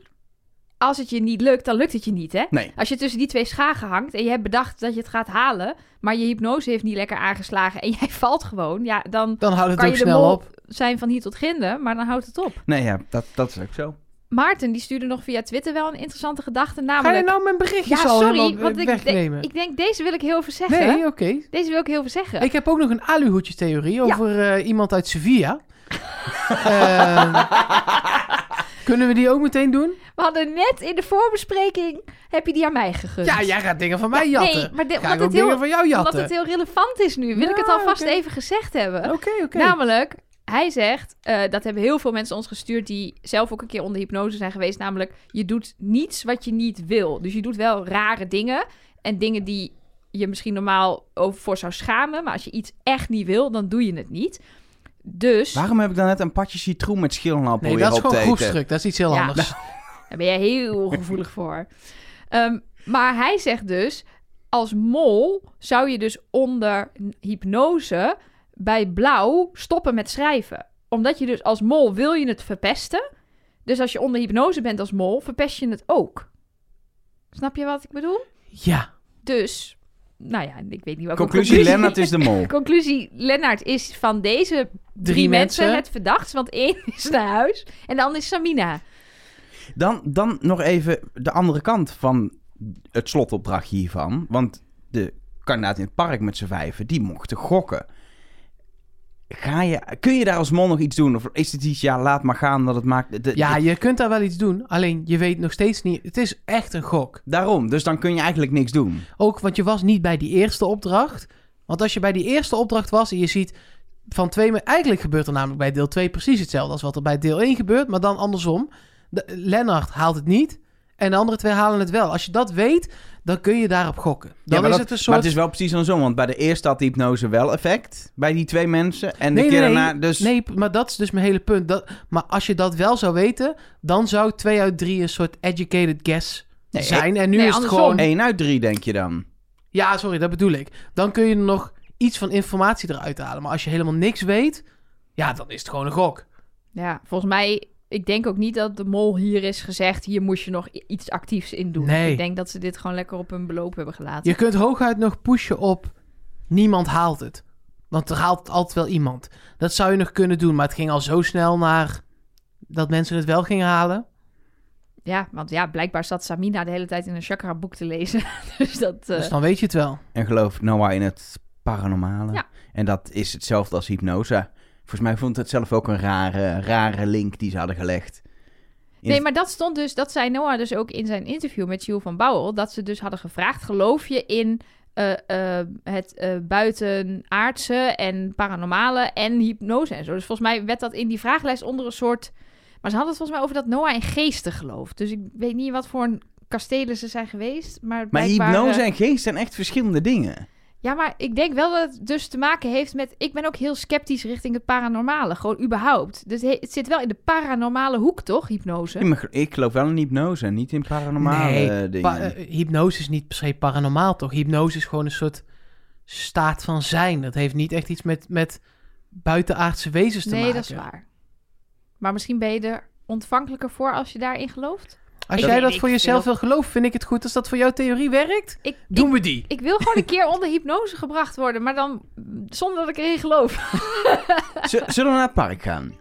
[SPEAKER 2] als het je niet lukt, dan lukt het je niet, hè?
[SPEAKER 3] Nee.
[SPEAKER 2] Als je tussen die twee schagen hangt en je hebt bedacht dat je het gaat halen, maar je hypnose heeft niet lekker aangeslagen en jij valt gewoon, ja, dan
[SPEAKER 1] Dan houdt het
[SPEAKER 2] kan
[SPEAKER 1] ook
[SPEAKER 2] je de
[SPEAKER 1] snel
[SPEAKER 2] mol
[SPEAKER 1] op.
[SPEAKER 2] zijn van hier tot ginden, maar dan houdt het op.
[SPEAKER 3] Nee, ja, dat, dat is ook zo.
[SPEAKER 2] Maarten, die stuurde nog via Twitter wel een interessante gedachte,
[SPEAKER 1] Ga je
[SPEAKER 2] namelijk...
[SPEAKER 1] nou mijn berichtjes
[SPEAKER 2] ja,
[SPEAKER 1] al
[SPEAKER 2] sorry,
[SPEAKER 1] helemaal,
[SPEAKER 2] want
[SPEAKER 1] eh,
[SPEAKER 2] ik, denk-
[SPEAKER 1] wegnemen?
[SPEAKER 2] ik denk, deze wil ik heel veel zeggen.
[SPEAKER 1] nee, oké.
[SPEAKER 2] Deze wil ik heel veel zeggen.
[SPEAKER 1] Ik heb ook nog een aluhoedje-theorie
[SPEAKER 2] Ja.
[SPEAKER 1] over eh, iemand uit Sevilla. Ehm, kunnen we die ook meteen doen?
[SPEAKER 2] We hadden net in de voorbespreking, heb je die aan mij gegund.
[SPEAKER 1] Ja, jij gaat dingen van mij jatten.
[SPEAKER 2] Nee, maar dit-
[SPEAKER 1] Ga ik
[SPEAKER 2] omdat,
[SPEAKER 1] ook
[SPEAKER 2] het
[SPEAKER 1] dingen
[SPEAKER 2] heel,
[SPEAKER 1] van jou
[SPEAKER 2] omdat
[SPEAKER 1] jatten?
[SPEAKER 2] het heel relevant is nu, wil ik
[SPEAKER 1] Ja,
[SPEAKER 2] het alvast
[SPEAKER 1] oké.
[SPEAKER 2] even gezegd hebben.
[SPEAKER 1] Oké, oké.
[SPEAKER 2] Namelijk, hij zegt, eh, dat hebben heel veel mensen ons gestuurd die zelf ook een keer onder hypnose zijn geweest. Namelijk, je doet niets wat je niet wil. Dus je doet wel rare dingen en dingen die je misschien normaal over voor zou schamen. Maar als je iets echt niet wil, dan doe je het niet. Dus
[SPEAKER 3] Waarom heb ik dan net een patje citroen met schillenappel
[SPEAKER 1] Nee,
[SPEAKER 3] weer
[SPEAKER 1] dat is
[SPEAKER 3] op te
[SPEAKER 1] gewoon
[SPEAKER 3] eten?
[SPEAKER 1] groepsdruk. Dat is iets heel
[SPEAKER 2] Ja.
[SPEAKER 1] anders.
[SPEAKER 2] daar ben jij heel gevoelig voor. Ehm, maar hij zegt dus, als mol zou je dus onder hypnose bij blauw stoppen met schrijven. Omdat je dus als mol wil je het verpesten. Dus als je onder hypnose bent als mol, verpest je het ook. Snap je wat ik bedoel?
[SPEAKER 1] Ja.
[SPEAKER 2] Dus, nou ja, ik weet niet wat
[SPEAKER 3] Conclusie, Lennart is de mol.
[SPEAKER 2] Conclusie, Lennart is van deze drie,
[SPEAKER 1] Drie
[SPEAKER 2] mensen,
[SPEAKER 1] mensen.
[SPEAKER 2] het verdacht. Want één is naar huis en de ander is Samina.
[SPEAKER 3] Dan, dan nog even de andere kant van het slotopdracht hiervan. Want de kandidaat in het park met z'n vijven, die mochten gokken. Ga je, kun je daar als mol nog iets doen? Of is het iets, ja, laat maar gaan, dat het maakt... de-
[SPEAKER 1] ja,
[SPEAKER 3] de-
[SPEAKER 1] je kunt daar wel iets doen. Alleen je weet nog steeds niet. Het is echt een gok.
[SPEAKER 3] daarom. Dus dan kun je eigenlijk niks doen.
[SPEAKER 1] Ook, want je was niet bij die eerste opdracht. Want als je bij die eerste opdracht was en je ziet van twee... me- Eigenlijk gebeurt er namelijk bij deel 2 precies hetzelfde als wat er bij deel 1 gebeurt. Maar dan andersom. De, Lennart haalt het niet en de andere twee halen het wel. Als je dat weet, dan kun je daarop gokken. Dan
[SPEAKER 3] ja,
[SPEAKER 1] is
[SPEAKER 3] maar dat-
[SPEAKER 1] het een soort...
[SPEAKER 3] Maar het is wel precies dan zo, want bij de eerste had de hypnose wel effect. Bij die twee mensen. En de keer daarna dus...
[SPEAKER 1] nee, maar dat is dus mijn hele punt. Dat, maar als je dat wel zou weten, dan zou 2 uit 3 een soort educated guess
[SPEAKER 3] Nee,
[SPEAKER 1] zijn. En nu
[SPEAKER 2] nee,
[SPEAKER 1] is het
[SPEAKER 2] andersom.
[SPEAKER 1] gewoon...
[SPEAKER 3] één uit drie, denk je dan.
[SPEAKER 1] Ja, sorry, dat bedoel ik. Dan kun je er nog iets van informatie eruit halen. Maar als je helemaal niks weet, ja, dan is het gewoon een gok.
[SPEAKER 2] Ja, volgens mij, ik denk ook niet dat de mol hier is gezegd... hier moest je nog i- iets actiefs in doen.
[SPEAKER 1] Nee.
[SPEAKER 2] Ik denk dat ze dit gewoon lekker op hun beloop hebben gelaten.
[SPEAKER 1] Je kunt hooguit nog pushen op niemand haalt het. Want er haalt altijd wel iemand. Dat zou je nog kunnen doen, maar het ging al zo snel naar dat mensen het wel gingen halen.
[SPEAKER 2] Ja, want ja, blijkbaar zat Samina de hele tijd in een chakra-boek te lezen. dus dat... eh,
[SPEAKER 1] Dus dan weet je het wel.
[SPEAKER 3] En gelooft Noah in het paranormale.
[SPEAKER 2] Ja.
[SPEAKER 3] En dat is hetzelfde als hypnose. Volgens mij vond het zelf ook een rare, rare link die ze hadden gelegd. In
[SPEAKER 2] Nee,
[SPEAKER 3] het-
[SPEAKER 2] maar dat stond dus... Dat zei Noah dus ook in zijn interview met Jules van Bouwel... dat ze dus hadden gevraagd, geloof je in... eh, eh, het eh, buitenaardse en paranormale en hypnose en zo. Dus volgens mij werd dat in die vragenlijst onder een soort... Maar ze hadden het volgens mij over dat Noah in geesten gelooft. Dus ik weet niet wat voor een kastelen ze zijn geweest. Maar,
[SPEAKER 3] Maar
[SPEAKER 2] blijkbaar,
[SPEAKER 3] hypnose
[SPEAKER 2] eh,
[SPEAKER 3] en geest zijn echt verschillende dingen.
[SPEAKER 2] Ja, maar ik denk wel dat het dus te maken heeft met... Ik ben ook heel sceptisch richting het paranormale. Gewoon überhaupt. Dus he- het zit wel in de paranormale hoek, toch, hypnose?
[SPEAKER 3] Nee, maar Ik geloof wel in hypnose en niet in paranormale
[SPEAKER 1] Nee,
[SPEAKER 3] eh, dingen.
[SPEAKER 1] Pa- eh, hypnose is niet per se paranormaal, toch? Hypnose is gewoon een soort staat van zijn. Dat heeft niet echt iets met, met buitenaardse wezens te
[SPEAKER 2] Nee,
[SPEAKER 1] maken.
[SPEAKER 2] dat is waar. Maar misschien ben je er ontvankelijker voor als je daarin gelooft?
[SPEAKER 1] Als
[SPEAKER 2] Ik
[SPEAKER 1] jij
[SPEAKER 2] weet
[SPEAKER 1] dat
[SPEAKER 2] ik
[SPEAKER 1] voor jezelf
[SPEAKER 2] veel.
[SPEAKER 1] wil geloven, vind ik het goed. Als dat voor jouw theorie werkt,
[SPEAKER 2] Ik,
[SPEAKER 1] doen
[SPEAKER 2] ik,
[SPEAKER 1] we die.
[SPEAKER 2] ik wil gewoon een keer onder hypnose gebracht worden, maar dan mm, zonder dat ik erin geloof.
[SPEAKER 3] Z- Zullen we naar het park gaan?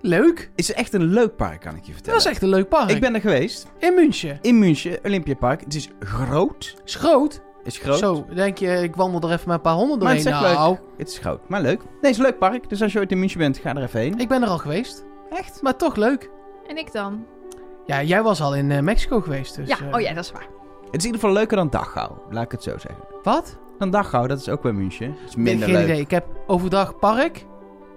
[SPEAKER 1] Leuk.
[SPEAKER 3] Is echt een leuk park, kan ik je
[SPEAKER 1] Dat
[SPEAKER 3] vertellen.
[SPEAKER 1] was echt een leuk park.
[SPEAKER 3] Ik ben er geweest.
[SPEAKER 1] In München.
[SPEAKER 3] In München, Olympiapark. Het is groot.
[SPEAKER 1] Is groot.
[SPEAKER 3] Is groot.
[SPEAKER 1] Zo, denk je, ik wandel er even met een paar honden
[SPEAKER 3] Maar het
[SPEAKER 1] doorheen.
[SPEAKER 3] is echt leuk.
[SPEAKER 1] Nou,
[SPEAKER 3] Het is groot, maar leuk. Nee, het is een leuk park. Dus als je ooit in München bent, ga er even heen.
[SPEAKER 1] Nou, ik ben er al geweest.
[SPEAKER 3] Echt?
[SPEAKER 1] Maar toch leuk.
[SPEAKER 2] En ik dan?
[SPEAKER 1] Ja, jij was al in eh, Mexico geweest. Dus,
[SPEAKER 2] ja,
[SPEAKER 1] eh,
[SPEAKER 2] oh ja, dat is waar.
[SPEAKER 3] Het is in ieder geval leuker dan Dachau, laat ik het zo zeggen.
[SPEAKER 1] eh, Wat?
[SPEAKER 3] Dan Dachau, dat is ook bij München. Dat is
[SPEAKER 1] Nee,
[SPEAKER 3] minder
[SPEAKER 1] geen
[SPEAKER 3] leuk.
[SPEAKER 1] idee. Ik heb overdag park,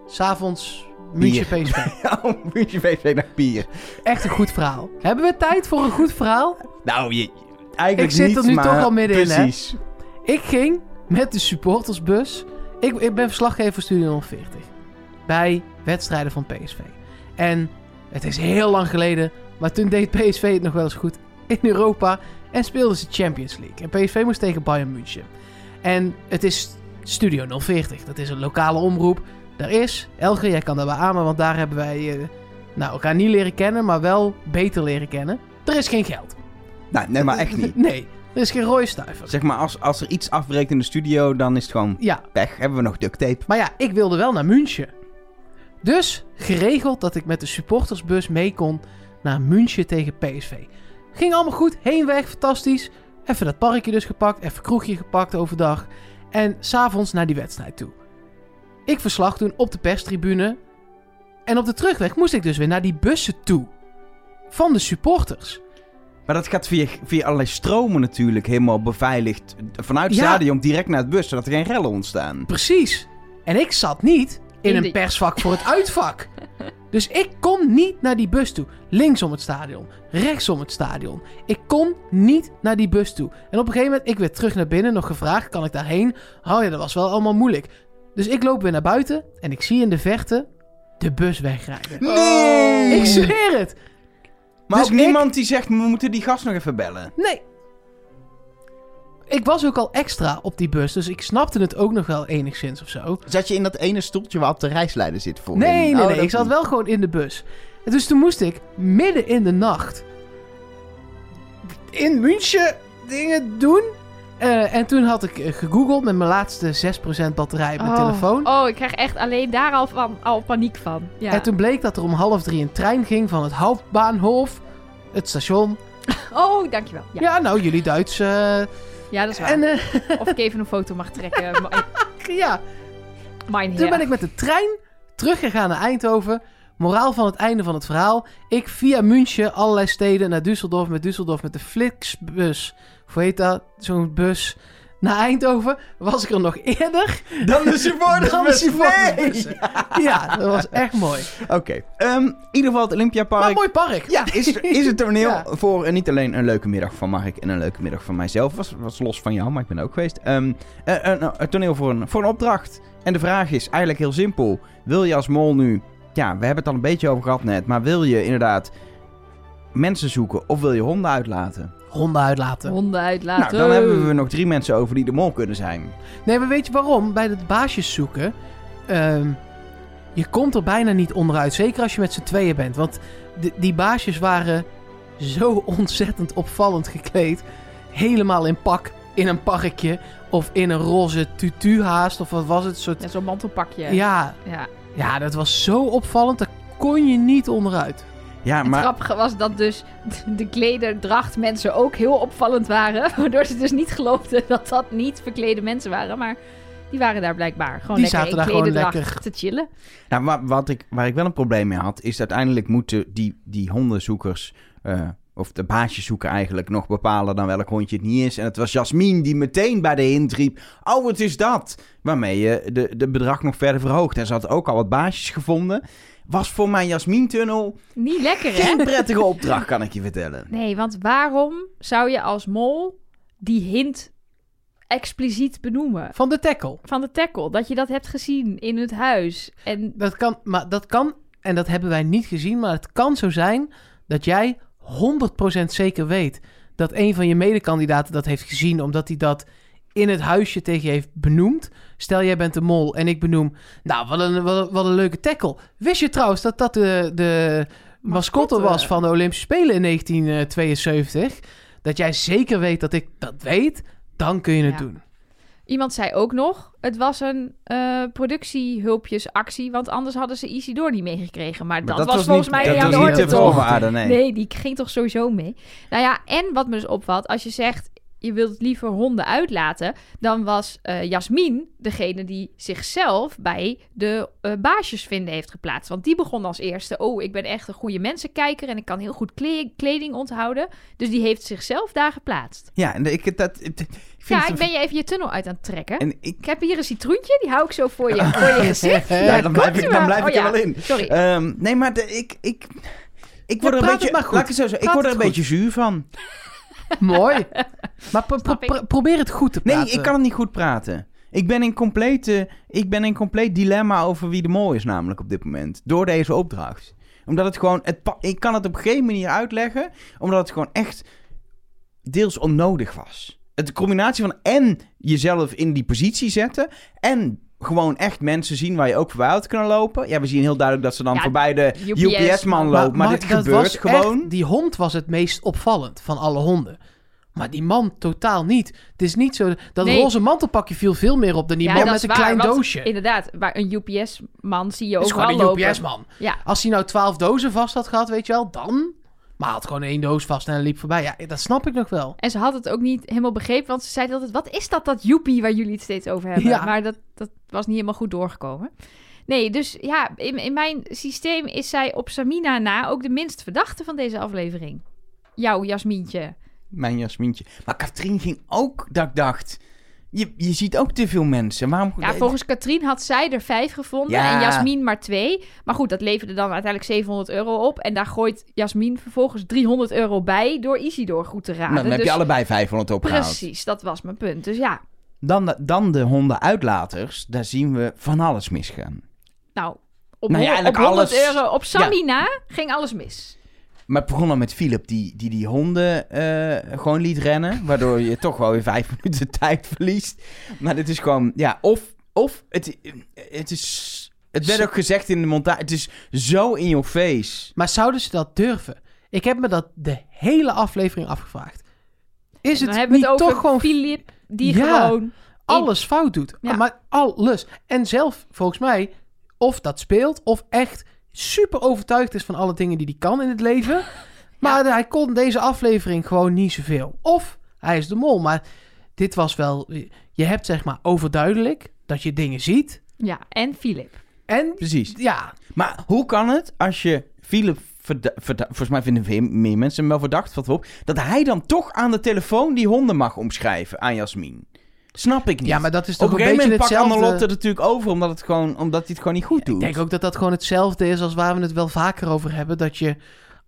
[SPEAKER 1] s'avonds München PSV.
[SPEAKER 3] Nou, München VV naar bier.
[SPEAKER 1] Echt een goed verhaal. Hebben we tijd voor een goed verhaal?
[SPEAKER 3] Nou, je, eigenlijk
[SPEAKER 1] Ik zit
[SPEAKER 3] niet,
[SPEAKER 1] er nu
[SPEAKER 3] maar
[SPEAKER 1] toch al middenin, hè?
[SPEAKER 3] Precies.
[SPEAKER 1] Ik ging met de supportersbus. Ik, ik ben verslaggever voor Studio 040. Bij wedstrijden van PSV. En het is heel lang geleden. Maar toen deed PSV het nog wel eens goed in Europa. En speelden ze Champions League. En PSV moest tegen Bayern München. En het is Studio 040. Dat is een lokale omroep. Daar is, Elger, jij kan daar bij aan, want daar hebben wij eh, nou, elkaar niet leren kennen, maar wel beter leren kennen. Er is geen geld.
[SPEAKER 3] Nou, nee, maar echt niet.
[SPEAKER 1] Nee, er is geen rode stuiver.
[SPEAKER 3] Zeg maar, als, als er iets afbreekt in de studio, dan is het gewoon
[SPEAKER 1] Ja,
[SPEAKER 3] pech. Hebben we nog duct tape?
[SPEAKER 1] Maar ja, ik wilde wel naar München. Dus geregeld dat ik met de supportersbus mee kon naar München tegen PSV. Ging allemaal goed, heenweg, fantastisch. Even dat parkje dus gepakt, even kroegje gepakt overdag. En s'avonds naar die wedstrijd toe. Ik verslag doen op de perstribune. En op de terugweg moest ik dus weer naar die bussen toe. Van de supporters.
[SPEAKER 3] Maar dat gaat via, via allerlei stromen natuurlijk helemaal beveiligd. Vanuit het
[SPEAKER 1] Ja.
[SPEAKER 3] stadion direct naar het bus, zodat er geen rellen ontstaan.
[SPEAKER 1] Precies. En ik zat niet in
[SPEAKER 2] In
[SPEAKER 1] een
[SPEAKER 2] de-
[SPEAKER 1] persvak voor het uitvak. Dus ik kon niet naar die bus toe. Links om het stadion, rechts om het stadion. Ik kon niet naar die bus toe. En op een gegeven moment, ik werd terug naar binnen, nog gevraagd, kan ik daarheen? Oh ja, dat was wel allemaal moeilijk. Dus ik loop weer naar buiten en ik zie in de verte de bus wegrijden.
[SPEAKER 3] Nee!
[SPEAKER 1] Oh. Ik zweer het.
[SPEAKER 3] maar
[SPEAKER 1] dus
[SPEAKER 3] ook niemand die zegt, we moeten die gast nog even bellen.
[SPEAKER 1] Nee. Ik was ook al extra op die bus, dus ik snapte het ook nog wel enigszins of zo.
[SPEAKER 4] Zat je in dat ene stoeltje waarop de reisleider zit voor? Oh,
[SPEAKER 1] Nee, nee, nee. Ik zat wel gewoon in de bus. En dus toen moest ik midden in de nacht in München dingen doen. Eh, en toen had ik eh, gegoogeld met mijn laatste 6% batterij op mijn
[SPEAKER 2] oh.
[SPEAKER 1] telefoon.
[SPEAKER 2] Oh, ik krijg echt alleen daar al, van, al paniek van. Ja.
[SPEAKER 1] En toen bleek dat er om half drie een trein ging van het Hauptbahnhof, het station.
[SPEAKER 2] Oh, dankjewel.
[SPEAKER 1] Ja,
[SPEAKER 2] Ja, ja.
[SPEAKER 1] nou, jullie Duits. eh,
[SPEAKER 2] dat is waar.
[SPEAKER 1] en eh,
[SPEAKER 2] Of ik even een foto mag trekken. Ma-
[SPEAKER 1] ja,
[SPEAKER 2] Mijn
[SPEAKER 1] toen ben
[SPEAKER 2] heren.
[SPEAKER 1] ik met de trein teruggegaan naar Eindhoven. Moraal van het einde van het verhaal. Ik via München, allerlei steden, naar Düsseldorf. Met Düsseldorf met de Flixbus. Of Hoe heet dat? Zo'n bus. Naar Eindhoven was ik er nog eerder.
[SPEAKER 3] Dan de supporters
[SPEAKER 1] dan
[SPEAKER 3] bus.
[SPEAKER 1] de supportersbus.
[SPEAKER 3] Nee!
[SPEAKER 1] Ja, dat was echt mooi.
[SPEAKER 3] Oké, ehm, in ieder geval het Olympiapark.
[SPEAKER 1] Maar een Nou, mooi park.
[SPEAKER 3] Ja, is, is het toneel
[SPEAKER 1] Ja.
[SPEAKER 3] voor eh, niet alleen een leuke middag van Mark en een leuke middag van mijzelf. Was, was los van jou, maar ik ben er ook geweest. Ehm, eh, eh, nou, het toneel voor een, voor een opdracht. En de vraag is eigenlijk heel simpel. Wil je als mol nu... Ja, we hebben het al een beetje over gehad net. Maar wil je inderdaad mensen zoeken of wil je honden uitlaten?
[SPEAKER 1] Honden uitlaten.
[SPEAKER 2] Honden
[SPEAKER 3] nou,
[SPEAKER 2] uitlaten.
[SPEAKER 3] dan hebben we nog drie mensen over die de mol kunnen zijn.
[SPEAKER 1] Nee, maar weet je waarom? Bij het baasjes zoeken. ehm, je komt er bijna niet onderuit. Zeker als je met z'n tweeën bent. Want d- die baasjes waren zo ontzettend opvallend gekleed. Helemaal in pak. In een parkje. Of in een roze tutu haast. Of wat was het? Soort...
[SPEAKER 2] Net zo'n mantelpakje.
[SPEAKER 1] Ja,
[SPEAKER 2] ja.
[SPEAKER 1] ja, dat was zo opvallend. Daar kon je niet onderuit.
[SPEAKER 3] Ja,
[SPEAKER 2] Het
[SPEAKER 3] maar...
[SPEAKER 2] grappige was dat dus de klederdracht mensen ook heel opvallend waren. Waardoor ze dus niet geloofden dat dat niet verklede mensen waren. Maar die waren daar blijkbaar gewoon
[SPEAKER 1] Die
[SPEAKER 2] lekker
[SPEAKER 1] zaten
[SPEAKER 2] in
[SPEAKER 1] daar gewoon
[SPEAKER 2] klederdracht
[SPEAKER 1] lekker.
[SPEAKER 2] te chillen.
[SPEAKER 3] Nou, wa- wat ik, waar ik wel een probleem mee had, is dat uiteindelijk moeten die, die hondenzoekers, eh, of de baasjeszoeker eigenlijk, nog bepalen dan welk hondje het niet is. En het was Jasmin die meteen bij de hint riep, oh, wat is dat? Waarmee je de, de bedrag nog verder verhoogt. En ze had ook al wat baasjes gevonden. Was voor mijn Jasmin-tunnel
[SPEAKER 2] Niet lekker, hè?
[SPEAKER 3] geen prettige opdracht, kan ik je vertellen.
[SPEAKER 2] Nee, want waarom zou je als mol die hint expliciet benoemen?
[SPEAKER 1] Van de tackle.
[SPEAKER 2] Van de tackle, dat je dat hebt gezien in het huis. En
[SPEAKER 1] Dat kan, maar dat kan, en dat hebben wij niet gezien, maar het kan zo zijn dat jij 100% zeker weet dat een van je medekandidaten dat heeft gezien, omdat hij dat in het huisje tegen je heeft benoemd. Stel, jij bent de mol en ik benoem, nou, wat een, wat een, wat een leuke tackle. Wist je trouwens dat dat de, de mascotte
[SPEAKER 2] Mascotte. eh.
[SPEAKER 1] was van de Olympische Spelen in 1972? Dat jij zeker weet dat ik dat weet, dan kun je het
[SPEAKER 2] Ja.
[SPEAKER 1] doen.
[SPEAKER 2] iemand zei ook nog, het was een eh productiehulpjesactie, want anders hadden ze Isidor niet meegekregen. Maar, dat, was, volgens mij
[SPEAKER 3] dat
[SPEAKER 2] niet aan de
[SPEAKER 3] was niet
[SPEAKER 2] orde,
[SPEAKER 3] de
[SPEAKER 2] toch?
[SPEAKER 3] voorwaarde, nee.
[SPEAKER 2] Nee, die ging toch sowieso mee. Nou ja, en wat me dus opvalt, als je zegt: je wilt liever honden uitlaten, dan was eh Jasmin degene die zichzelf bij de eh, baasjes vinden heeft geplaatst. Want die begon als eerste, oh, ik ben echt een goede mensenkijker en ik kan heel goed kle- kleding onthouden. Dus die heeft zichzelf daar geplaatst.
[SPEAKER 3] Ja, en ik, dat, ik vind
[SPEAKER 2] ja,
[SPEAKER 3] het
[SPEAKER 2] ik
[SPEAKER 3] een-
[SPEAKER 2] ben je even je tunnel uit aan het trekken.
[SPEAKER 3] En ik,
[SPEAKER 2] Ik heb hier een citroentje, die hou ik zo voor je, voor je gezicht.
[SPEAKER 3] ja, dan blijf
[SPEAKER 2] komt
[SPEAKER 3] ik,
[SPEAKER 2] ie
[SPEAKER 3] dan
[SPEAKER 2] maar.
[SPEAKER 3] blijf
[SPEAKER 2] Oh
[SPEAKER 3] ik er
[SPEAKER 2] ja,
[SPEAKER 3] wel in.
[SPEAKER 2] Sorry.
[SPEAKER 3] Ehm, nee, maar de- ik, ik, ik word
[SPEAKER 1] Ja,
[SPEAKER 3] er
[SPEAKER 1] praat
[SPEAKER 3] een
[SPEAKER 1] het
[SPEAKER 3] beetje,
[SPEAKER 1] maar goed.
[SPEAKER 3] laat ik, het zo zeggen, ik
[SPEAKER 1] Praat
[SPEAKER 3] word er een
[SPEAKER 1] het
[SPEAKER 3] beetje zuur van.
[SPEAKER 1] Mooi. Maar pro- pro-
[SPEAKER 2] Snap ik.
[SPEAKER 1] pro- probeer het goed te
[SPEAKER 3] Nee,
[SPEAKER 1] praten.
[SPEAKER 3] ik kan het niet goed praten. Ik ben in complete, ik ben in compleet dilemma over wie de mol is namelijk op dit moment. Door deze opdracht. Omdat het gewoon, het, pa- ik kan het op geen manier uitleggen, omdat het gewoon echt deels onnodig was. Het de combinatie van en jezelf in die positie zetten en gewoon echt mensen zien waar je ook voorbij had kunnen lopen. Ja, we zien heel duidelijk dat ze dan
[SPEAKER 2] Ja,
[SPEAKER 3] voorbij de
[SPEAKER 2] UPS-man
[SPEAKER 3] UPS-man
[SPEAKER 1] Maar-
[SPEAKER 3] loopt, maar,
[SPEAKER 1] maar
[SPEAKER 3] dit
[SPEAKER 1] dat
[SPEAKER 3] gebeurt
[SPEAKER 1] was echt-
[SPEAKER 3] gewoon.
[SPEAKER 1] die hond was het meest opvallend van alle honden. Maar die man totaal niet. Het is niet zo... Dat
[SPEAKER 2] Nee.
[SPEAKER 1] roze mantelpakje viel veel meer op dan die
[SPEAKER 2] Ja,
[SPEAKER 1] man
[SPEAKER 2] dat
[SPEAKER 1] met
[SPEAKER 2] is
[SPEAKER 1] een
[SPEAKER 2] waar,
[SPEAKER 1] klein
[SPEAKER 2] want
[SPEAKER 1] doosje. Het
[SPEAKER 2] Inderdaad, waar een UPS-man zie je
[SPEAKER 1] is
[SPEAKER 2] overal
[SPEAKER 1] gewoon een
[SPEAKER 2] lopen.
[SPEAKER 1] UPS-man.
[SPEAKER 2] Ja,
[SPEAKER 1] Als hij nou twaalf dozen vast had gehad, weet je wel, dan... Maar hij had gewoon één doos vast en hij liep voorbij. Ja, dat snap ik nog wel.
[SPEAKER 2] en ze had het ook niet helemaal begrepen, want ze zei altijd... wat is dat, dat joepie waar jullie het steeds over hebben?
[SPEAKER 1] Ja.
[SPEAKER 2] Maar dat, dat was niet helemaal goed doorgekomen. Nee, dus ja, in, in mijn systeem is zij op Samina na ook de minst verdachte van deze aflevering. Jouw Jasmientje.
[SPEAKER 3] Mijn jasmintje. Maar Katrien ging ook, dat ik dacht. Je, je ziet ook te veel mensen. Waarom?
[SPEAKER 2] Ja, volgens Katrien had zij er vijf gevonden
[SPEAKER 3] Ja.
[SPEAKER 2] en Jasmin maar twee. Maar goed, dat leverde dan uiteindelijk 700 euro op. En daar gooit Jasmin vervolgens 300 euro bij door Isidor goed te raden.
[SPEAKER 3] Nou, dan heb
[SPEAKER 2] Dus
[SPEAKER 3] je allebei 500 opgehaald.
[SPEAKER 2] Precies, dat was mijn punt. Dus ja,
[SPEAKER 3] Dan, dan de hondenuitlaters. Daar zien we van alles misgaan.
[SPEAKER 2] nou, op,
[SPEAKER 3] Nou ja,
[SPEAKER 2] hon- op
[SPEAKER 3] eigenlijk
[SPEAKER 2] 100
[SPEAKER 3] alles.
[SPEAKER 2] euro op Samina ging alles mis.
[SPEAKER 3] Maar het begon dan met Philip die die, die honden eh, gewoon liet rennen. Waardoor je toch wel weer vijf minuten tijd verliest. Maar dit is gewoon, ja, of, of het, het is... Het werd
[SPEAKER 1] Zo-
[SPEAKER 3] ook gezegd in de montage. Het is zo in your face.
[SPEAKER 1] Maar zouden ze dat durven? Ik heb me dat de hele aflevering afgevraagd. Is
[SPEAKER 2] Dan
[SPEAKER 1] het
[SPEAKER 2] hebben
[SPEAKER 1] niet
[SPEAKER 2] we het over
[SPEAKER 1] toch gewoon
[SPEAKER 2] Filip die
[SPEAKER 1] Ja.
[SPEAKER 2] gewoon...
[SPEAKER 1] alles fout doet.
[SPEAKER 2] Ja.
[SPEAKER 1] Maar alles. En zelf, volgens mij, of dat speelt, of echt super overtuigd is van alle dingen die hij kan in het leven. Maar hij kon deze aflevering gewoon niet zoveel. Of hij is de mol. Maar dit was wel. Je hebt zeg maar overduidelijk dat je dingen ziet.
[SPEAKER 2] Ja, en Filip.
[SPEAKER 1] En
[SPEAKER 3] Precies.
[SPEAKER 1] ja,
[SPEAKER 3] Maar hoe kan het als je Philip... verda- verda- volgens mij vinden veel meer mensen hem wel verdacht wat op... dat hij dan toch aan de telefoon die honden mag omschrijven aan Jasmin. Snap ik niet.
[SPEAKER 1] ja, maar dat is
[SPEAKER 3] Op
[SPEAKER 1] toch
[SPEAKER 3] een
[SPEAKER 1] een
[SPEAKER 3] gegeven
[SPEAKER 1] beetje
[SPEAKER 3] moment pakt Annelotte
[SPEAKER 1] hetzelfde.
[SPEAKER 3] het natuurlijk over... omdat, het gewoon, omdat hij het gewoon niet goed doet.
[SPEAKER 1] Ik denk ook dat dat gewoon hetzelfde is als waar we het wel vaker over hebben. Dat je,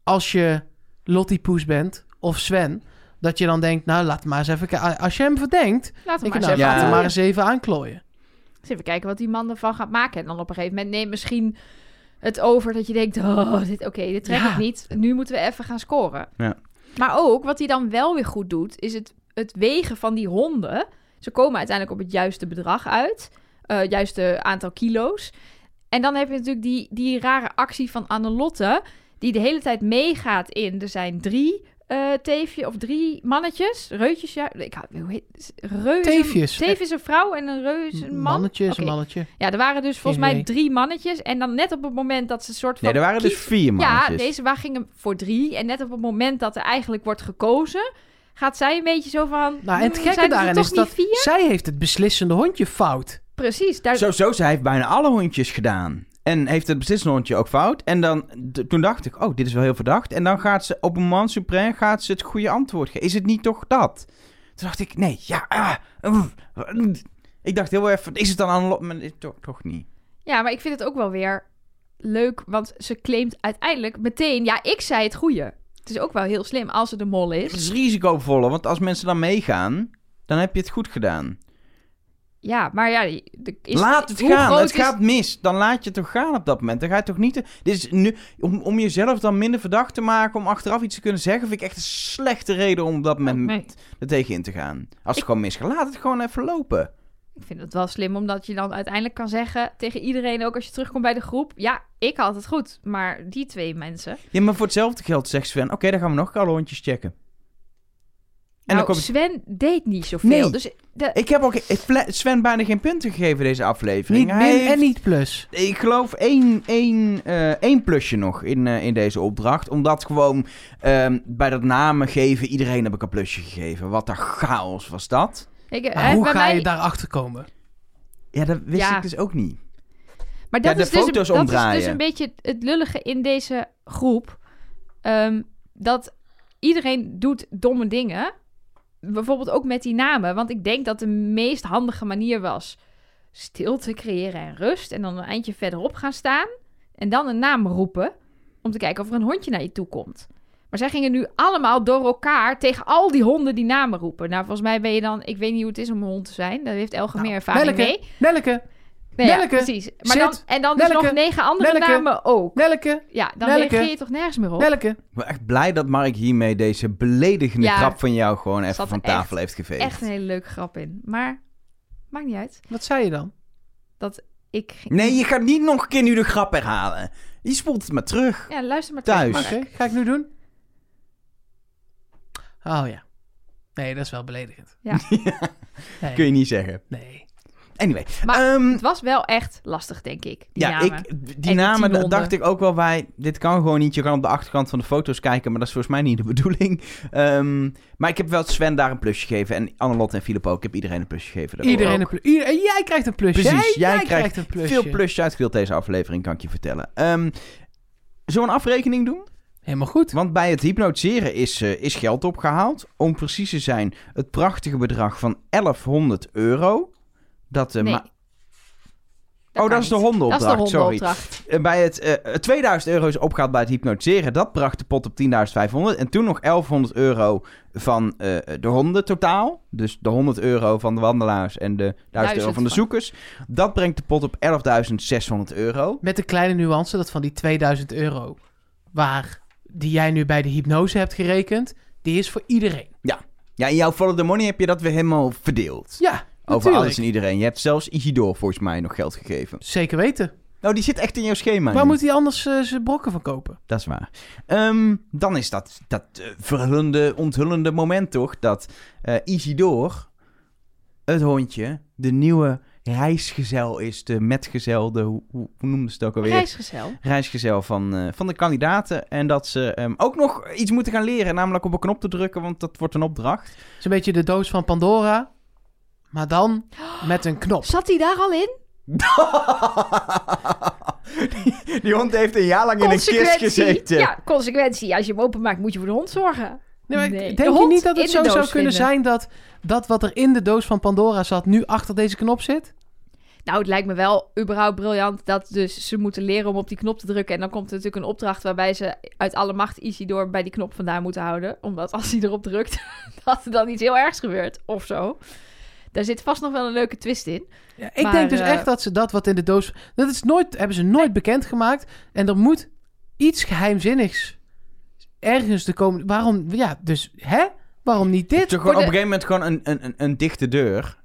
[SPEAKER 1] als je Lottie Poes bent of Sven, dat je dan denkt, nou laat maar eens even kijken. Als je hem verdenkt,
[SPEAKER 2] Laten we
[SPEAKER 1] Ik
[SPEAKER 2] maar
[SPEAKER 1] nou,
[SPEAKER 2] eens even,
[SPEAKER 3] ja.
[SPEAKER 1] laten we
[SPEAKER 2] aanklooien.
[SPEAKER 1] maar eens even aanklooien.
[SPEAKER 2] Eens Dus even kijken wat die man ervan gaat maken. En dan op een gegeven moment neemt misschien het over dat je denkt... Oh, dit, oké, dit trek
[SPEAKER 1] Ja.
[SPEAKER 2] ik niet. Nu moeten we even gaan scoren.
[SPEAKER 3] Ja.
[SPEAKER 2] Maar ook, wat hij dan wel weer goed doet... is het, het wegen van die honden. Ze komen uiteindelijk op het juiste bedrag uit. eh juiste aantal kilo's. En dan heb je natuurlijk die, die rare actie van Annelotte... die de hele tijd meegaat in... er zijn drie... eh teefje of drie mannetjes, reutjes, ja, ik hou, hoe heet, reuzen,
[SPEAKER 1] Teefjes.
[SPEAKER 2] teef is een vrouw en een reus is een man.
[SPEAKER 1] Mannetje is een
[SPEAKER 2] Oké.
[SPEAKER 1] mannetje.
[SPEAKER 2] Ja, er waren dus volgens
[SPEAKER 1] Geen
[SPEAKER 2] mij
[SPEAKER 1] idee.
[SPEAKER 2] drie mannetjes. En dan net op het moment dat ze een soort van...
[SPEAKER 3] Nee, er waren dus
[SPEAKER 2] kies-
[SPEAKER 3] vier
[SPEAKER 2] Ja,
[SPEAKER 3] mannetjes.
[SPEAKER 2] deze waar gingen voor drie. En net op het moment dat er eigenlijk wordt gekozen... gaat zij een beetje zo van...
[SPEAKER 1] Nou, en het
[SPEAKER 2] "Hmm,
[SPEAKER 1] gekke
[SPEAKER 2] zijn er
[SPEAKER 1] daarin
[SPEAKER 2] toch
[SPEAKER 1] is
[SPEAKER 2] niet
[SPEAKER 1] dat
[SPEAKER 2] vier?
[SPEAKER 1] zij heeft het beslissende hondje fout.
[SPEAKER 2] Precies, daar...
[SPEAKER 3] Zo, zo, zij heeft bijna alle hondjes gedaan. En heeft het beslissende hondje ook fout. En dan, d- toen dacht ik, oh, dit is wel heel verdacht. En dan gaat ze op een man supreme gaat ze het goede antwoord geven. Is het niet toch dat? Toen dacht ik, nee, ja. ah, mm, mm. ik dacht heel even, is het dan aan lot? Maar nee, toch, toch niet.
[SPEAKER 2] Ja, maar ik vind het ook wel weer leuk. Want ze claimt uiteindelijk meteen... Ja, ik zei het goede. Het is ook wel heel slim als ze de mol
[SPEAKER 3] Het
[SPEAKER 2] is.
[SPEAKER 3] is risicovoller, want als mensen dan meegaan, dan heb je het goed gedaan.
[SPEAKER 2] Ja, maar ja... de- is-
[SPEAKER 3] laat het
[SPEAKER 2] hoe
[SPEAKER 3] gaan.
[SPEAKER 2] groot
[SPEAKER 3] Het
[SPEAKER 2] is-
[SPEAKER 3] gaat mis. Dan laat je het toch gaan op dat moment. Dan ga je toch niet. Dit is nu, om, om jezelf dan minder verdacht te maken. Om achteraf iets te kunnen zeggen. Vind ik echt een slechte reden om op dat moment
[SPEAKER 2] Nee.
[SPEAKER 3] er tegen in te gaan. Als het gewoon misgaat, laat het gewoon even lopen.
[SPEAKER 2] Ik vind het wel slim, omdat je dan uiteindelijk kan zeggen tegen iedereen, ook als je terugkomt bij de groep, ja, ik had het goed, maar die twee mensen.
[SPEAKER 3] Ja, maar voor hetzelfde geld zegt Sven: Oké, dan gaan we nog alle hondjes checken. dan
[SPEAKER 2] nou,
[SPEAKER 3] komt
[SPEAKER 2] Sven deed niet zoveel.
[SPEAKER 3] Nee.
[SPEAKER 2] Dus de-
[SPEAKER 3] Ik heb ook ik fla- Sven bijna geen punten gegeven deze aflevering.
[SPEAKER 1] Niet
[SPEAKER 3] Hij
[SPEAKER 1] min
[SPEAKER 3] heeft-
[SPEAKER 1] en niet plus.
[SPEAKER 3] Ik geloof één, één, eh, één plusje nog in, eh, in deze opdracht. Omdat gewoon ehm, bij dat namen geven, iedereen heb ik een plusje gegeven. Wat een chaos was dat.
[SPEAKER 2] ik,
[SPEAKER 1] Maar
[SPEAKER 2] eh,
[SPEAKER 1] Nou, hoe
[SPEAKER 2] bij
[SPEAKER 1] ga
[SPEAKER 2] mij-
[SPEAKER 1] je daarachter komen?
[SPEAKER 3] Ja, dat wist
[SPEAKER 2] Ja.
[SPEAKER 3] ik dus ook niet.
[SPEAKER 2] Maar
[SPEAKER 3] Ja,
[SPEAKER 2] dat,
[SPEAKER 3] de
[SPEAKER 2] is, dus,
[SPEAKER 3] foto's
[SPEAKER 2] dat is dus
[SPEAKER 3] omdraaien.
[SPEAKER 2] een beetje het lullige in deze groep. Ehm, dat iedereen doet domme dingen. Bijvoorbeeld ook met die namen. Want ik denk dat de meest handige manier was... stilte creëren en rust. En dan een eindje verderop gaan staan. En dan een naam roepen. Om te kijken of er een hondje naar je toe komt. Maar zij gingen nu allemaal door elkaar tegen al die honden die namen roepen. Nou, volgens mij ben je dan... Ik weet niet hoe het is om een hond te zijn. Daar heeft Elge
[SPEAKER 1] Nou,
[SPEAKER 2] meer ervaring
[SPEAKER 1] Nelleke,
[SPEAKER 2] mee.
[SPEAKER 1] Nelleke,
[SPEAKER 2] Nee, ja,
[SPEAKER 1] Nelleke,
[SPEAKER 2] precies. Maar
[SPEAKER 1] zit.
[SPEAKER 2] dan, en dan dus
[SPEAKER 1] Nelleke,
[SPEAKER 2] nog negen andere
[SPEAKER 1] Nelleke.
[SPEAKER 2] namen ook.
[SPEAKER 1] Nelleke,
[SPEAKER 2] Ja, dan
[SPEAKER 1] Nelleke.
[SPEAKER 2] reageer je toch nergens meer op.
[SPEAKER 1] Nelleke.
[SPEAKER 3] Ik ben echt blij dat Mark hiermee deze beledigende
[SPEAKER 2] Ja.
[SPEAKER 3] grap van jou gewoon even
[SPEAKER 2] Zat
[SPEAKER 3] van
[SPEAKER 2] echt-
[SPEAKER 3] tafel heeft geveegd.
[SPEAKER 2] Echt een hele leuke grap in. Maar maakt niet uit.
[SPEAKER 1] Wat zei je dan?
[SPEAKER 2] Ik ging...
[SPEAKER 3] Nee, je gaat niet nog een keer nu de grap herhalen. Je spoelt het maar terug.
[SPEAKER 2] Ja, luister maar
[SPEAKER 3] Thuis.
[SPEAKER 2] terug,
[SPEAKER 1] Oké,
[SPEAKER 2] Mark.
[SPEAKER 1] ga ik nu doen? Oh ja. Nee, dat is wel beledigend.
[SPEAKER 2] Ja.
[SPEAKER 1] Nee.
[SPEAKER 3] Kun je niet zeggen.
[SPEAKER 1] nee.
[SPEAKER 3] Anyway.
[SPEAKER 2] Maar
[SPEAKER 3] ehm,
[SPEAKER 2] Het was wel echt lastig, denk ik. Die
[SPEAKER 3] ja,
[SPEAKER 2] namen.
[SPEAKER 3] ik, die
[SPEAKER 2] die
[SPEAKER 3] namen
[SPEAKER 2] tien
[SPEAKER 3] da-
[SPEAKER 2] honden.
[SPEAKER 3] dacht ik ook wel bij. Dit kan gewoon niet. Je kan op de achterkant van de foto's kijken, maar dat is volgens mij niet de bedoeling. Ehm, maar ik heb wel Sven daar een plusje gegeven. En Annelot en Filip ook. Ik heb iedereen een plusje gegeven. daarvoor.
[SPEAKER 1] Iedereen een plu- ieder- en jij krijgt een plusje.
[SPEAKER 3] Precies,
[SPEAKER 1] hè?
[SPEAKER 3] jij
[SPEAKER 1] jij,
[SPEAKER 3] krijgt
[SPEAKER 1] krijgt een plusje.
[SPEAKER 3] Veel plusjes uitgedeeld deze aflevering, kan ik je vertellen. Ehm Zullen we een afrekening doen?
[SPEAKER 1] Helemaal goed.
[SPEAKER 3] Want bij het hypnotiseren is, eh, is geld opgehaald. Om precies te zijn, het prachtige bedrag van 1100 euro. Dat, eh,
[SPEAKER 2] Nee.
[SPEAKER 3] ma-
[SPEAKER 2] kan
[SPEAKER 3] oh, dat is de
[SPEAKER 2] niet. Dat
[SPEAKER 3] hondenopdracht.
[SPEAKER 2] is de
[SPEAKER 3] sorry.
[SPEAKER 2] hondenopdracht.
[SPEAKER 3] Eh, bij het eh, 2000 euro is opgehaald bij het hypnotiseren. Dat bracht de pot op 10.500. En toen nog 1100 euro van eh, de honden totaal. Dus de 100 euro van de wandelaars en de 1000 euro
[SPEAKER 2] Duizend
[SPEAKER 3] van de
[SPEAKER 2] van-
[SPEAKER 3] zoekers. Dat brengt de pot op 11.600 euro.
[SPEAKER 1] Met de kleine nuance dat van die 2000 euro, waar die jij nu bij de hypnose hebt gerekend, die is voor iedereen.
[SPEAKER 3] Ja, in jouw Follow the Money heb je dat weer helemaal verdeeld.
[SPEAKER 1] Ja,
[SPEAKER 3] Over
[SPEAKER 1] natuurlijk.
[SPEAKER 3] alles en iedereen. Je hebt zelfs Isidore volgens mij nog geld gegeven.
[SPEAKER 1] Zeker weten.
[SPEAKER 3] Nou, die zit echt in jouw schema.
[SPEAKER 1] Waar
[SPEAKER 3] nu.
[SPEAKER 1] moet hij anders eh, zijn brokken van kopen?
[SPEAKER 3] Dat is waar. Ehm, dan is dat, dat eh, verhullende, onthullende moment toch... dat eh Isidore, het hondje, de nieuwe reisgezel is. De metgezel, de, hoe, hoe hoe noemden ze het ook alweer?
[SPEAKER 2] Reisgezel.
[SPEAKER 3] Reisgezel van, eh, van de kandidaten. En dat ze ehm, ook nog iets moeten gaan leren. Namelijk op een knop te drukken, want dat wordt een opdracht.
[SPEAKER 1] Het is een beetje de doos van Pandora, maar dan met een knop.
[SPEAKER 2] Zat hij daar al in?
[SPEAKER 3] die, die hond heeft een jaar lang in een kist
[SPEAKER 2] Consequentie.
[SPEAKER 3] gezeten.
[SPEAKER 2] Ja, consequentie. Als je hem openmaakt, moet je voor de hond zorgen.
[SPEAKER 1] Nee, maar ik-
[SPEAKER 2] Nee, de
[SPEAKER 1] Denk je
[SPEAKER 2] hond
[SPEAKER 1] niet dat
[SPEAKER 2] in
[SPEAKER 1] het
[SPEAKER 2] de
[SPEAKER 1] zo
[SPEAKER 2] doos
[SPEAKER 1] zou kunnen
[SPEAKER 2] vinden.
[SPEAKER 1] zijn dat dat wat er in de doos van Pandora zat, nu achter deze knop zit?
[SPEAKER 2] Nou, het lijkt me wel überhaupt briljant dat dus ze moeten leren om op die knop te drukken. En dan komt er natuurlijk een opdracht waarbij ze uit alle macht Isidor bij die knop vandaan moeten houden. Omdat als hij erop drukt, dat er dan iets heel ergs gebeurt of zo. Daar zit vast nog wel een leuke twist in.
[SPEAKER 1] Ja, ik
[SPEAKER 2] Maar,
[SPEAKER 1] denk dus
[SPEAKER 2] eh,
[SPEAKER 1] echt dat ze dat wat in de doos. Dat is nooit, hebben ze nooit bekendgemaakt. En er moet iets geheimzinnigs ergens te komen. Waarom? Ja, dus hè? Waarom niet dit?
[SPEAKER 3] Toch
[SPEAKER 2] Voor
[SPEAKER 3] gewoon
[SPEAKER 2] de-
[SPEAKER 3] op een gegeven moment gewoon een, een, een, een dichte deur.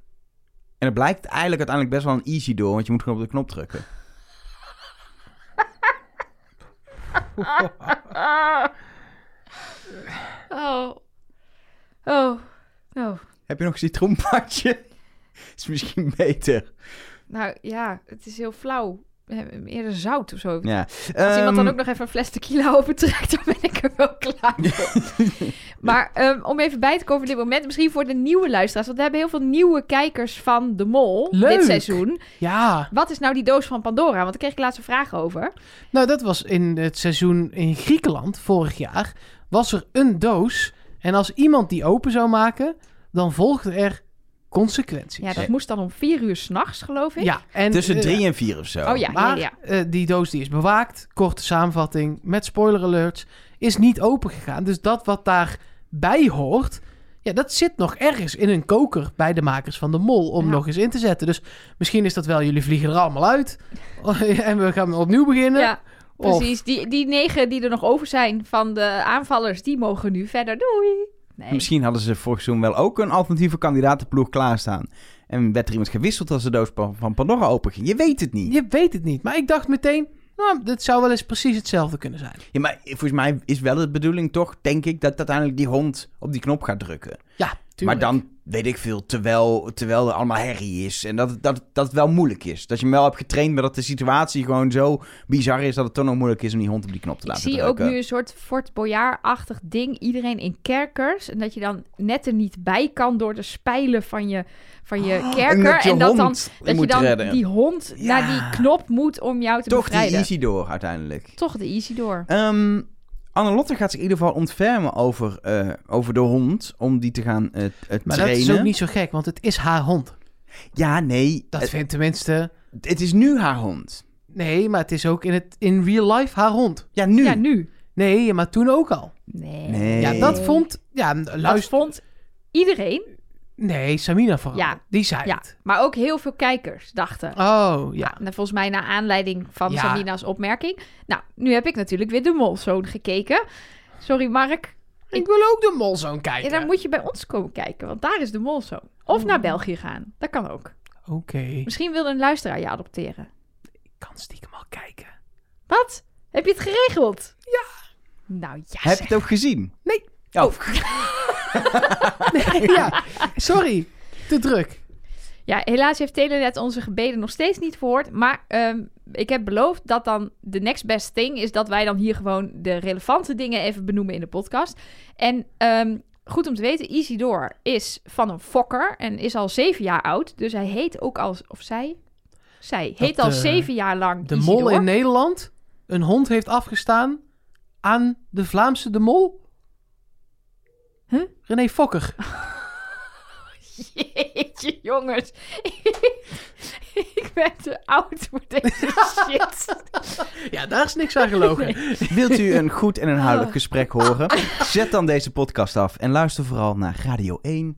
[SPEAKER 3] En het blijkt eigenlijk uiteindelijk best wel een easy door, want je moet gewoon op de knop drukken.
[SPEAKER 2] Ah. Oh. Oh. Oh.
[SPEAKER 3] Heb je nog een citroenpakje? Is misschien beter.
[SPEAKER 2] Nou ja, het is heel flauw. We hebben hem Eerder zout of zo.
[SPEAKER 3] Ja. Ehm,
[SPEAKER 2] Als iemand
[SPEAKER 1] Ehm,
[SPEAKER 2] dan ook nog even een fles tequila overtrekt, dan ben ik er wel klaar voor. maar ehm, om even bij te komen van dit moment, misschien voor de nieuwe luisteraars, want we hebben heel veel nieuwe kijkers van De Mol
[SPEAKER 1] Leuk.
[SPEAKER 2] dit seizoen.
[SPEAKER 1] Ja.
[SPEAKER 2] Wat is nou die doos van Pandora? Want daar kreeg ik laatst een vraag over.
[SPEAKER 1] Nou, dat was in het seizoen in Griekenland vorig jaar. Was er een doos. En als iemand die open zou maken, dan volgde er consequenties.
[SPEAKER 2] Ja, dat moest dan om vier uur s'nachts, geloof ik.
[SPEAKER 1] Ja, en,
[SPEAKER 3] Tussen
[SPEAKER 1] eh,
[SPEAKER 3] drie en vier of zo.
[SPEAKER 2] Oh ja,
[SPEAKER 1] Maar
[SPEAKER 2] ja, ja.
[SPEAKER 1] eh, die doos die is bewaakt, korte samenvatting, met spoiler alerts, is niet open gegaan. Dus dat wat daarbij hoort, ja, dat zit nog ergens in een koker bij de makers van de mol om
[SPEAKER 2] Ja.
[SPEAKER 1] nog eens in te zetten. Dus misschien is dat wel, jullie vliegen er allemaal uit en eh, we gaan opnieuw beginnen.
[SPEAKER 2] Ja,
[SPEAKER 1] Of-
[SPEAKER 2] precies. Die, die negen die er nog over zijn van de aanvallers, die mogen nu verder. Doei! Nee.
[SPEAKER 3] Misschien hadden ze vorig seizoen wel ook een alternatieve kandidatenploeg klaarstaan. En werd er iemand gewisseld als de doos pa- van Pandora open ging. Je weet het niet.
[SPEAKER 1] Je weet het niet, maar ik dacht meteen, Nou, dit zou wel eens precies hetzelfde kunnen zijn.
[SPEAKER 3] Ja, maar volgens mij is wel de bedoeling toch, denk ik, dat uiteindelijk die hond op die knop gaat drukken.
[SPEAKER 1] Ja,
[SPEAKER 3] Maar
[SPEAKER 1] tuurlijk.
[SPEAKER 3] dan, weet ik veel, terwijl, terwijl er allemaal herrie is. En dat, dat, dat het wel moeilijk is. Dat je hem wel hebt getraind, maar dat de situatie gewoon zo bizar is... dat het toch nog moeilijk is om die hond op die knop te
[SPEAKER 2] Ik
[SPEAKER 3] laten
[SPEAKER 2] zie ook
[SPEAKER 3] drukken.
[SPEAKER 2] nu een soort Fort Boyard-achtig ding. Iedereen in kerkers. En dat je dan net er niet bij kan door de spijlen van je, van je kerker.
[SPEAKER 3] Ah, Oh, en dat je
[SPEAKER 2] dan,
[SPEAKER 3] hond je
[SPEAKER 2] dat je
[SPEAKER 3] moet
[SPEAKER 2] dan
[SPEAKER 3] redden.
[SPEAKER 2] die hond
[SPEAKER 3] Ja.
[SPEAKER 2] naar die knop moet om jou te
[SPEAKER 3] Toch die
[SPEAKER 2] bevrijden.
[SPEAKER 3] easy door uiteindelijk.
[SPEAKER 2] Toch de easy door.
[SPEAKER 3] Ehm Annelotte gaat zich in ieder geval ontfermen over, eh, over de hond... om die te gaan eh, eh,
[SPEAKER 1] Maar
[SPEAKER 3] trainen.
[SPEAKER 1] dat is ook niet zo gek, want het is haar hond.
[SPEAKER 3] Ja, nee.
[SPEAKER 1] Dat
[SPEAKER 3] het,
[SPEAKER 1] vindt tenminste...
[SPEAKER 3] het is nu haar hond.
[SPEAKER 1] Nee, maar het is ook in, het, in real life haar hond.
[SPEAKER 3] Ja, nu.
[SPEAKER 2] Ja, nu.
[SPEAKER 1] Nee, maar toen ook al.
[SPEAKER 2] Nee.
[SPEAKER 3] Nee.
[SPEAKER 1] Ja, dat vond... Ja,
[SPEAKER 2] Dat
[SPEAKER 1] luister...
[SPEAKER 2] vond iedereen,
[SPEAKER 1] Nee, Samina vooral.
[SPEAKER 2] Ja.
[SPEAKER 1] Die zei
[SPEAKER 2] ja,
[SPEAKER 1] het.
[SPEAKER 2] maar ook heel veel kijkers dachten.
[SPEAKER 1] Oh,
[SPEAKER 2] Ja,
[SPEAKER 1] ja.
[SPEAKER 2] nou, volgens mij naar aanleiding van
[SPEAKER 1] Ja.
[SPEAKER 2] Sabina's opmerking. Nou, nu heb ik natuurlijk weer de molzoon gekeken. Sorry Mark,
[SPEAKER 1] Ik wil ook de molzoon
[SPEAKER 2] ja,
[SPEAKER 1] kijken.
[SPEAKER 2] dan moet je bij ons komen kijken, want daar is de molzoon. Of naar België gaan, dat kan ook.
[SPEAKER 1] Oké.
[SPEAKER 2] Misschien wilde een luisteraar je adopteren.
[SPEAKER 1] Ik kan stiekem al kijken.
[SPEAKER 2] Wat? Heb je het geregeld? Ja. Nou ja,
[SPEAKER 3] Heb je
[SPEAKER 2] zeg.
[SPEAKER 3] het ook gezien?
[SPEAKER 1] Nee.
[SPEAKER 3] Oh,
[SPEAKER 1] Nee, ja. Sorry. Te druk.
[SPEAKER 2] Ja, helaas heeft Telenet onze gebeden nog steeds niet verhoord. Maar ehm, ik heb beloofd dat dan de next best thing is dat wij dan hier gewoon de relevante dingen even benoemen in de podcast. En ehm, goed om te weten, Isidor is van een fokker en is al zeven jaar oud. Dus hij heet ook als, of zij? Zij heet
[SPEAKER 1] Dat,
[SPEAKER 2] al
[SPEAKER 1] eh,
[SPEAKER 2] zeven jaar lang
[SPEAKER 1] De
[SPEAKER 2] Isidor.
[SPEAKER 1] mol in Nederland. Een hond heeft afgestaan aan de Vlaamse de mol.
[SPEAKER 2] Huh?
[SPEAKER 1] René Fokker.
[SPEAKER 2] Jeetje, jongens. ik ben te oud voor deze shit.
[SPEAKER 1] Ja, daar is niks aan gelogen.
[SPEAKER 3] Wilt u een goed en
[SPEAKER 2] Oh.
[SPEAKER 3] inhoudelijk gesprek horen? Zet dan deze podcast af en luister vooral naar Radio 1.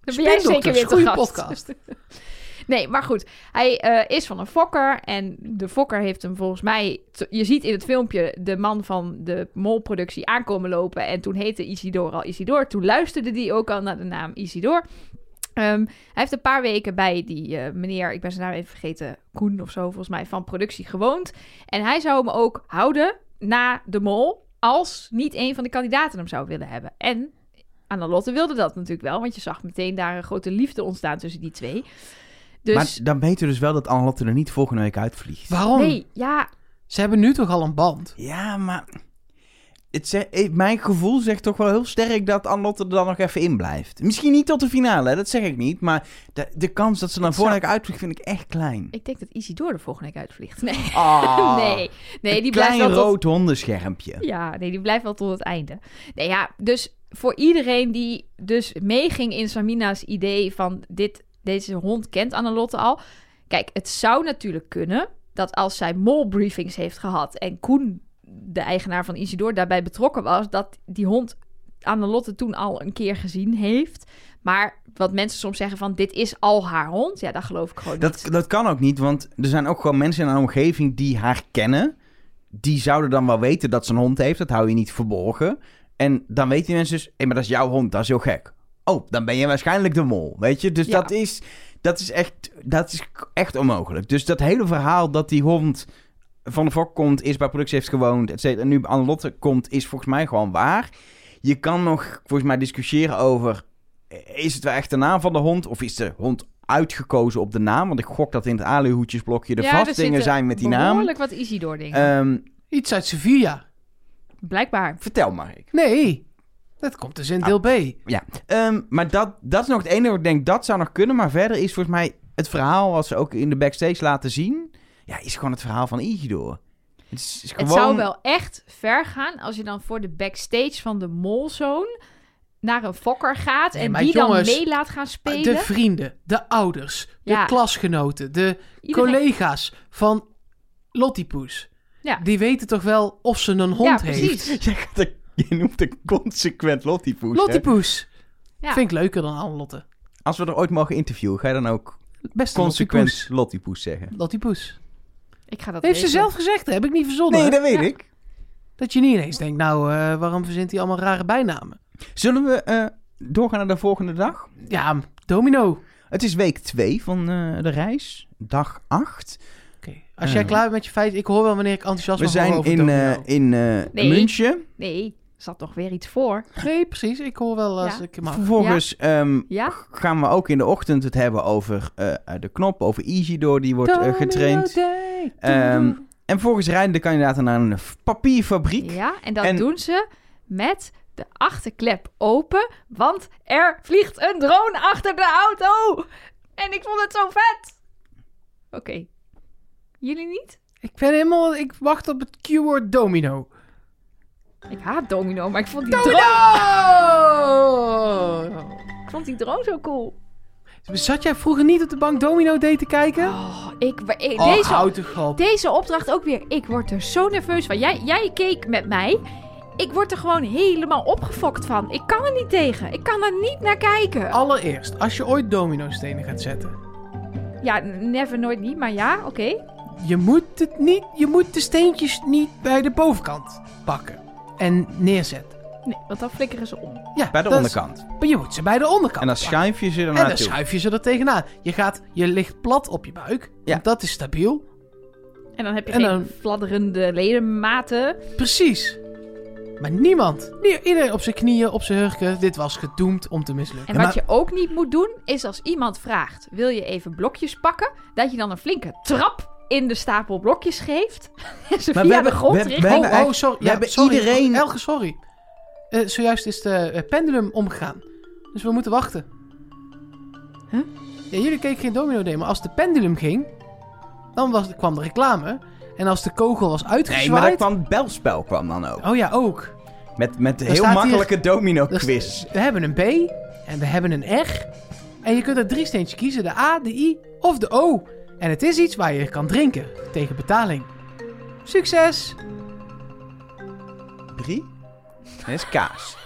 [SPEAKER 2] Dan ben jij
[SPEAKER 1] Spindokters,
[SPEAKER 2] zeker weer te
[SPEAKER 1] goede
[SPEAKER 2] gast.
[SPEAKER 1] podcast.
[SPEAKER 2] Nee, maar goed. Hij eh, is van een fokker. En de fokker heeft hem volgens mij... t- Je ziet in het filmpje de man van de molproductie aankomen lopen. En toen heette Isidor al Isidor. Toen luisterde die ook al naar de naam Isidor. Ehm, hij heeft een paar weken bij die eh, meneer, ik ben zijn naam even vergeten, Koen of zo volgens mij, van productie gewoond. En hij zou hem ook houden na de mol als niet een van de kandidaten hem zou willen hebben. En Anna-Lotte wilde dat natuurlijk wel, want je zag meteen daar een grote liefde ontstaan tussen die twee. Dus
[SPEAKER 3] Maar dan weten we dus wel dat Annelotte er niet volgende week uitvliegt.
[SPEAKER 1] Waarom?
[SPEAKER 2] nee, ja,
[SPEAKER 1] Ze hebben nu toch al een band?
[SPEAKER 3] Ja, maar... Het ze- eh, mijn gevoel zegt toch wel heel sterk dat Annelotte er dan nog even in blijft. Misschien niet tot de finale, hè, dat zeg ik niet. Maar de, de kans dat ze dan volgende week uitvliegt vind ik echt klein.
[SPEAKER 2] ik denk dat Isidore de volgende week uitvliegt. Nee,
[SPEAKER 3] Ah,
[SPEAKER 2] nee, nee
[SPEAKER 3] een
[SPEAKER 2] die blijft
[SPEAKER 3] klein
[SPEAKER 2] wel tot-
[SPEAKER 3] rood hondenschermpje.
[SPEAKER 2] Ja, nee, die blijft wel tot het einde. Nee, ja, dus voor iedereen die dus meeging in Samina's idee van dit, deze hond kent Annelotte al. Kijk, het zou natuurlijk kunnen dat als zij molbriefings heeft gehad en Koen, de eigenaar van Isidor, daarbij betrokken was, dat die hond Annelotte toen al een keer gezien heeft. Maar wat mensen soms zeggen van dit is al haar hond, ja, dat geloof ik gewoon
[SPEAKER 3] Dat,
[SPEAKER 2] niet.
[SPEAKER 3] dat kan ook niet, want er zijn ook gewoon mensen in haar omgeving die haar kennen. Die zouden dan wel weten dat ze een hond heeft. Dat hou je niet verborgen. En dan weten die mensen dus, hé, maar dat is jouw hond, dat is heel gek. Oh, dan ben je waarschijnlijk de mol, weet je? Dus
[SPEAKER 2] Ja.
[SPEAKER 3] dat, is, dat, is echt, dat is echt onmogelijk. Dus dat hele verhaal dat die hond van de Fok komt, is bij productie heeft gewoond, et cetera, en nu bij Annelotte komt, is volgens mij gewoon waar. Je kan nog volgens mij discussiëren over, eh, is het wel echt de naam van de hond? Of is de hond uitgekozen op de naam? Want ik gok dat in het aluhoedjesblokje de
[SPEAKER 2] Ja, er
[SPEAKER 3] vastingen
[SPEAKER 2] zitten
[SPEAKER 3] zijn met die naam.
[SPEAKER 2] Behoorlijk wat Isidor ding.
[SPEAKER 3] Ehm,
[SPEAKER 1] Iets uit Sevilla.
[SPEAKER 2] Blijkbaar.
[SPEAKER 3] vertel maar, ik.
[SPEAKER 1] Nee. Dat komt dus in deel B.
[SPEAKER 3] Ja, ehm, maar dat, dat is nog het enige wat ik denk dat zou nog kunnen. Maar verder is volgens mij het verhaal, wat ze ook in de backstage laten zien, ja, is gewoon het verhaal van Igidor. Het, is, is
[SPEAKER 2] Het zou
[SPEAKER 3] gewoon-
[SPEAKER 2] wel echt ver gaan als je dan voor de backstage van de molzone naar een fokker gaat
[SPEAKER 1] Nee,
[SPEAKER 2] en
[SPEAKER 1] maar
[SPEAKER 2] die
[SPEAKER 1] jongens,
[SPEAKER 2] dan mee laat gaan spelen.
[SPEAKER 1] De vrienden, de ouders, de
[SPEAKER 2] Ja.
[SPEAKER 1] klasgenoten, de
[SPEAKER 2] Iedereen-
[SPEAKER 1] collega's van Lottipoes.
[SPEAKER 2] Ja.
[SPEAKER 1] Die weten toch wel of ze een hond
[SPEAKER 2] ja,
[SPEAKER 1] heeft.
[SPEAKER 2] precies.
[SPEAKER 3] Jij gaat een- je noemt een consequent Lottipoes. hè?
[SPEAKER 1] Lottipoes.
[SPEAKER 2] Ja.
[SPEAKER 1] Vind ik leuker dan Anne Lotte.
[SPEAKER 3] Als we er ooit mogen interviewen, ga je dan ook
[SPEAKER 1] Best
[SPEAKER 3] consequent
[SPEAKER 1] Lottipoes.
[SPEAKER 3] Lottipoes zeggen?
[SPEAKER 1] Lottipoes.
[SPEAKER 2] Ik ga dat
[SPEAKER 1] Heeft ze
[SPEAKER 2] regelen.
[SPEAKER 1] zelf gezegd, hè? heb ik niet verzonnen.
[SPEAKER 3] Nee,
[SPEAKER 1] hè?
[SPEAKER 3] dat weet
[SPEAKER 2] Ja.
[SPEAKER 3] ik.
[SPEAKER 1] Dat je niet ineens denkt, nou, eh, waarom verzint hij allemaal rare bijnamen?
[SPEAKER 3] Zullen we eh, doorgaan naar de volgende dag?
[SPEAKER 1] Ja, domino. Oké,
[SPEAKER 3] Het is week 2 van eh, de reis, dag 8.
[SPEAKER 1] Als jij
[SPEAKER 3] Ja.
[SPEAKER 1] klaar bent met je feit, ik hoor wel wanneer ik enthousiast
[SPEAKER 3] We
[SPEAKER 1] mag worden
[SPEAKER 3] zijn
[SPEAKER 1] over
[SPEAKER 3] in, eh,
[SPEAKER 1] domino.
[SPEAKER 3] in eh,
[SPEAKER 2] Nee.
[SPEAKER 3] München.
[SPEAKER 2] Nee, er zat nog weer iets voor.
[SPEAKER 1] Nee, precies. Ik hoor wel als
[SPEAKER 2] Ja.
[SPEAKER 1] ik mag.
[SPEAKER 3] Vervolgens ehm,
[SPEAKER 2] Ja?
[SPEAKER 3] gaan we ook in de ochtend het hebben over eh, de knop, over Easydoor, die wordt eh, getraind. Ehm, en vervolgens rijden de kandidaten naar een f- papierfabriek.
[SPEAKER 2] Ja, en dat
[SPEAKER 3] En-
[SPEAKER 2] doen ze met de achterklep open, want er vliegt een drone achter de auto. En ik vond het zo vet. Oké. Jullie niet?
[SPEAKER 1] Ik ben helemaal... Ik wacht op het keyword domino.
[SPEAKER 2] Ik haat Domino, maar ik vond die, drone,
[SPEAKER 1] Domino!
[SPEAKER 2] ik vond die drone zo cool.
[SPEAKER 1] Zat jij vroeger niet op de bank domino deed te kijken?
[SPEAKER 2] Oh, ik, ik-
[SPEAKER 1] Oh,
[SPEAKER 2] deze,
[SPEAKER 1] houd toch op.
[SPEAKER 2] deze opdracht ook weer. Ik word er zo nerveus van. Jij, jij keek met mij. Ik word er gewoon helemaal opgefokt van. Ik kan er niet tegen. Ik kan er niet naar kijken.
[SPEAKER 3] Oh.
[SPEAKER 1] Allereerst, als je ooit domino-stenen gaat zetten,
[SPEAKER 2] Ja, never, nooit niet, maar ja, oké.
[SPEAKER 1] je moet, het niet, je moet de steentjes niet bij de bovenkant pakken en neerzetten.
[SPEAKER 2] Nee, want dan flikkeren ze om.
[SPEAKER 1] Ja,
[SPEAKER 3] Bij de
[SPEAKER 1] dat is-
[SPEAKER 3] onderkant.
[SPEAKER 1] maar je moet ze bij de onderkant
[SPEAKER 3] En dan
[SPEAKER 1] pakken.
[SPEAKER 3] schuif je ze er
[SPEAKER 1] En dan
[SPEAKER 3] naartoe.
[SPEAKER 1] schuif je ze er tegenaan. Je, gaat, je ligt plat op je buik,
[SPEAKER 3] Ja.
[SPEAKER 1] want dat is stabiel.
[SPEAKER 2] En dan heb je
[SPEAKER 1] En
[SPEAKER 2] geen
[SPEAKER 1] dan-
[SPEAKER 2] fladderende ledematen.
[SPEAKER 1] Precies. Maar niemand, nie- iedereen op zijn knieën, op zijn hurken, dit was gedoemd om te mislukken.
[SPEAKER 2] En wat je ook niet moet doen, is als iemand vraagt... wil je even blokjes pakken? Dat je dan een flinke trap in de stapel blokjes geeft. En ze
[SPEAKER 3] Maar we
[SPEAKER 2] via
[SPEAKER 3] hebben-
[SPEAKER 2] de grond
[SPEAKER 3] we hebben-
[SPEAKER 2] richten.
[SPEAKER 3] we
[SPEAKER 1] Oh,
[SPEAKER 3] hebben
[SPEAKER 1] oh,
[SPEAKER 3] echt-
[SPEAKER 1] sorry.
[SPEAKER 3] we
[SPEAKER 1] Ja,
[SPEAKER 3] hebben
[SPEAKER 1] sorry.
[SPEAKER 3] iedereen-
[SPEAKER 1] Elge, sorry. Eh, zojuist is de eh, pendulum omgegaan. Dus we moeten wachten.
[SPEAKER 2] Huh?
[SPEAKER 1] Ja, jullie keken geen domino nee, maar als de pendulum ging, dan was, kwam de reclame. En als de kogel was
[SPEAKER 3] Nee, maar dat
[SPEAKER 1] uitgezwaaid...
[SPEAKER 3] kwam het belspel kwam dan ook.
[SPEAKER 1] Oh ja, ook.
[SPEAKER 3] Met, met
[SPEAKER 1] staat
[SPEAKER 3] heel
[SPEAKER 1] hier-
[SPEAKER 3] makkelijke
[SPEAKER 1] Dus
[SPEAKER 3] domino-quiz.
[SPEAKER 1] We hebben een B en we hebben een R. En je kunt uit drie steentjes kiezen. De A, de I of de O. En het is iets waar je kan drinken. Tegen betaling. Succes!
[SPEAKER 3] Drie? Dat is kaas.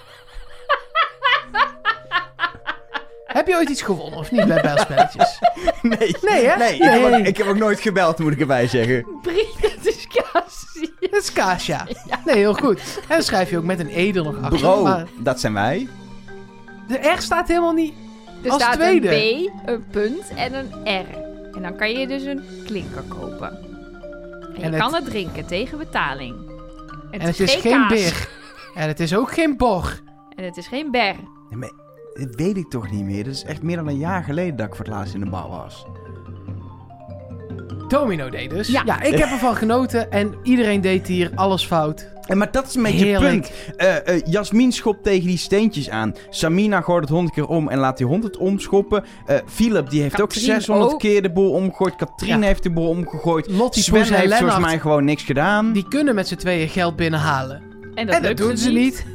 [SPEAKER 1] Heb je ooit iets gewonnen of niet bij bijlspelletjes?
[SPEAKER 3] Nee.
[SPEAKER 1] Nee, hè?
[SPEAKER 3] Nee, ik,
[SPEAKER 1] Nee.
[SPEAKER 3] Heb ook, ik heb ook nooit gebeld, moet ik erbij zeggen.
[SPEAKER 2] Brie, dat is Cassie.
[SPEAKER 1] Dat is kaas, ja. Nee, heel goed. En dan schrijf je ook met een E er nog achter.
[SPEAKER 3] Bro,
[SPEAKER 1] maar
[SPEAKER 3] dat zijn wij.
[SPEAKER 1] de R staat helemaal niet...
[SPEAKER 2] Er
[SPEAKER 1] Als
[SPEAKER 2] staat
[SPEAKER 1] tweede.
[SPEAKER 2] een B, een punt en een R. En dan kan je dus een klinker kopen. En, je
[SPEAKER 1] En het-
[SPEAKER 2] kan het drinken tegen betaling. Het
[SPEAKER 1] en het is geen
[SPEAKER 2] kaas.
[SPEAKER 1] beer. En het is ook geen bor.
[SPEAKER 2] En het is geen ber.
[SPEAKER 3] Nee, maar dat weet ik toch niet meer. Dat is echt meer dan een jaar geleden dat ik voor het laatst in de bar was.
[SPEAKER 1] Domino deed dus.
[SPEAKER 2] Ja.
[SPEAKER 1] ik heb ervan genoten. En iedereen deed hier alles fout.
[SPEAKER 3] En maar dat is een beetje het
[SPEAKER 1] Heerlijk.
[SPEAKER 3] punt. Eh, eh, Jasmin schopt tegen die steentjes aan. Samina gooit het honderd keer om en laat die hond het omschoppen. Eh, Philip die heeft
[SPEAKER 2] Katrien
[SPEAKER 3] ook 600
[SPEAKER 2] ook.
[SPEAKER 3] keer de boel omgegooid. Katrien
[SPEAKER 1] Ja.
[SPEAKER 3] heeft de boel omgegooid.
[SPEAKER 1] Lottie,
[SPEAKER 3] Sven
[SPEAKER 1] Poes en
[SPEAKER 3] heeft volgens mij
[SPEAKER 1] Lennart,
[SPEAKER 3] gewoon niks gedaan.
[SPEAKER 1] die kunnen met z'n tweeën geld binnenhalen.
[SPEAKER 2] En dat,
[SPEAKER 1] En dat
[SPEAKER 2] lukt dus
[SPEAKER 1] doen ze niet.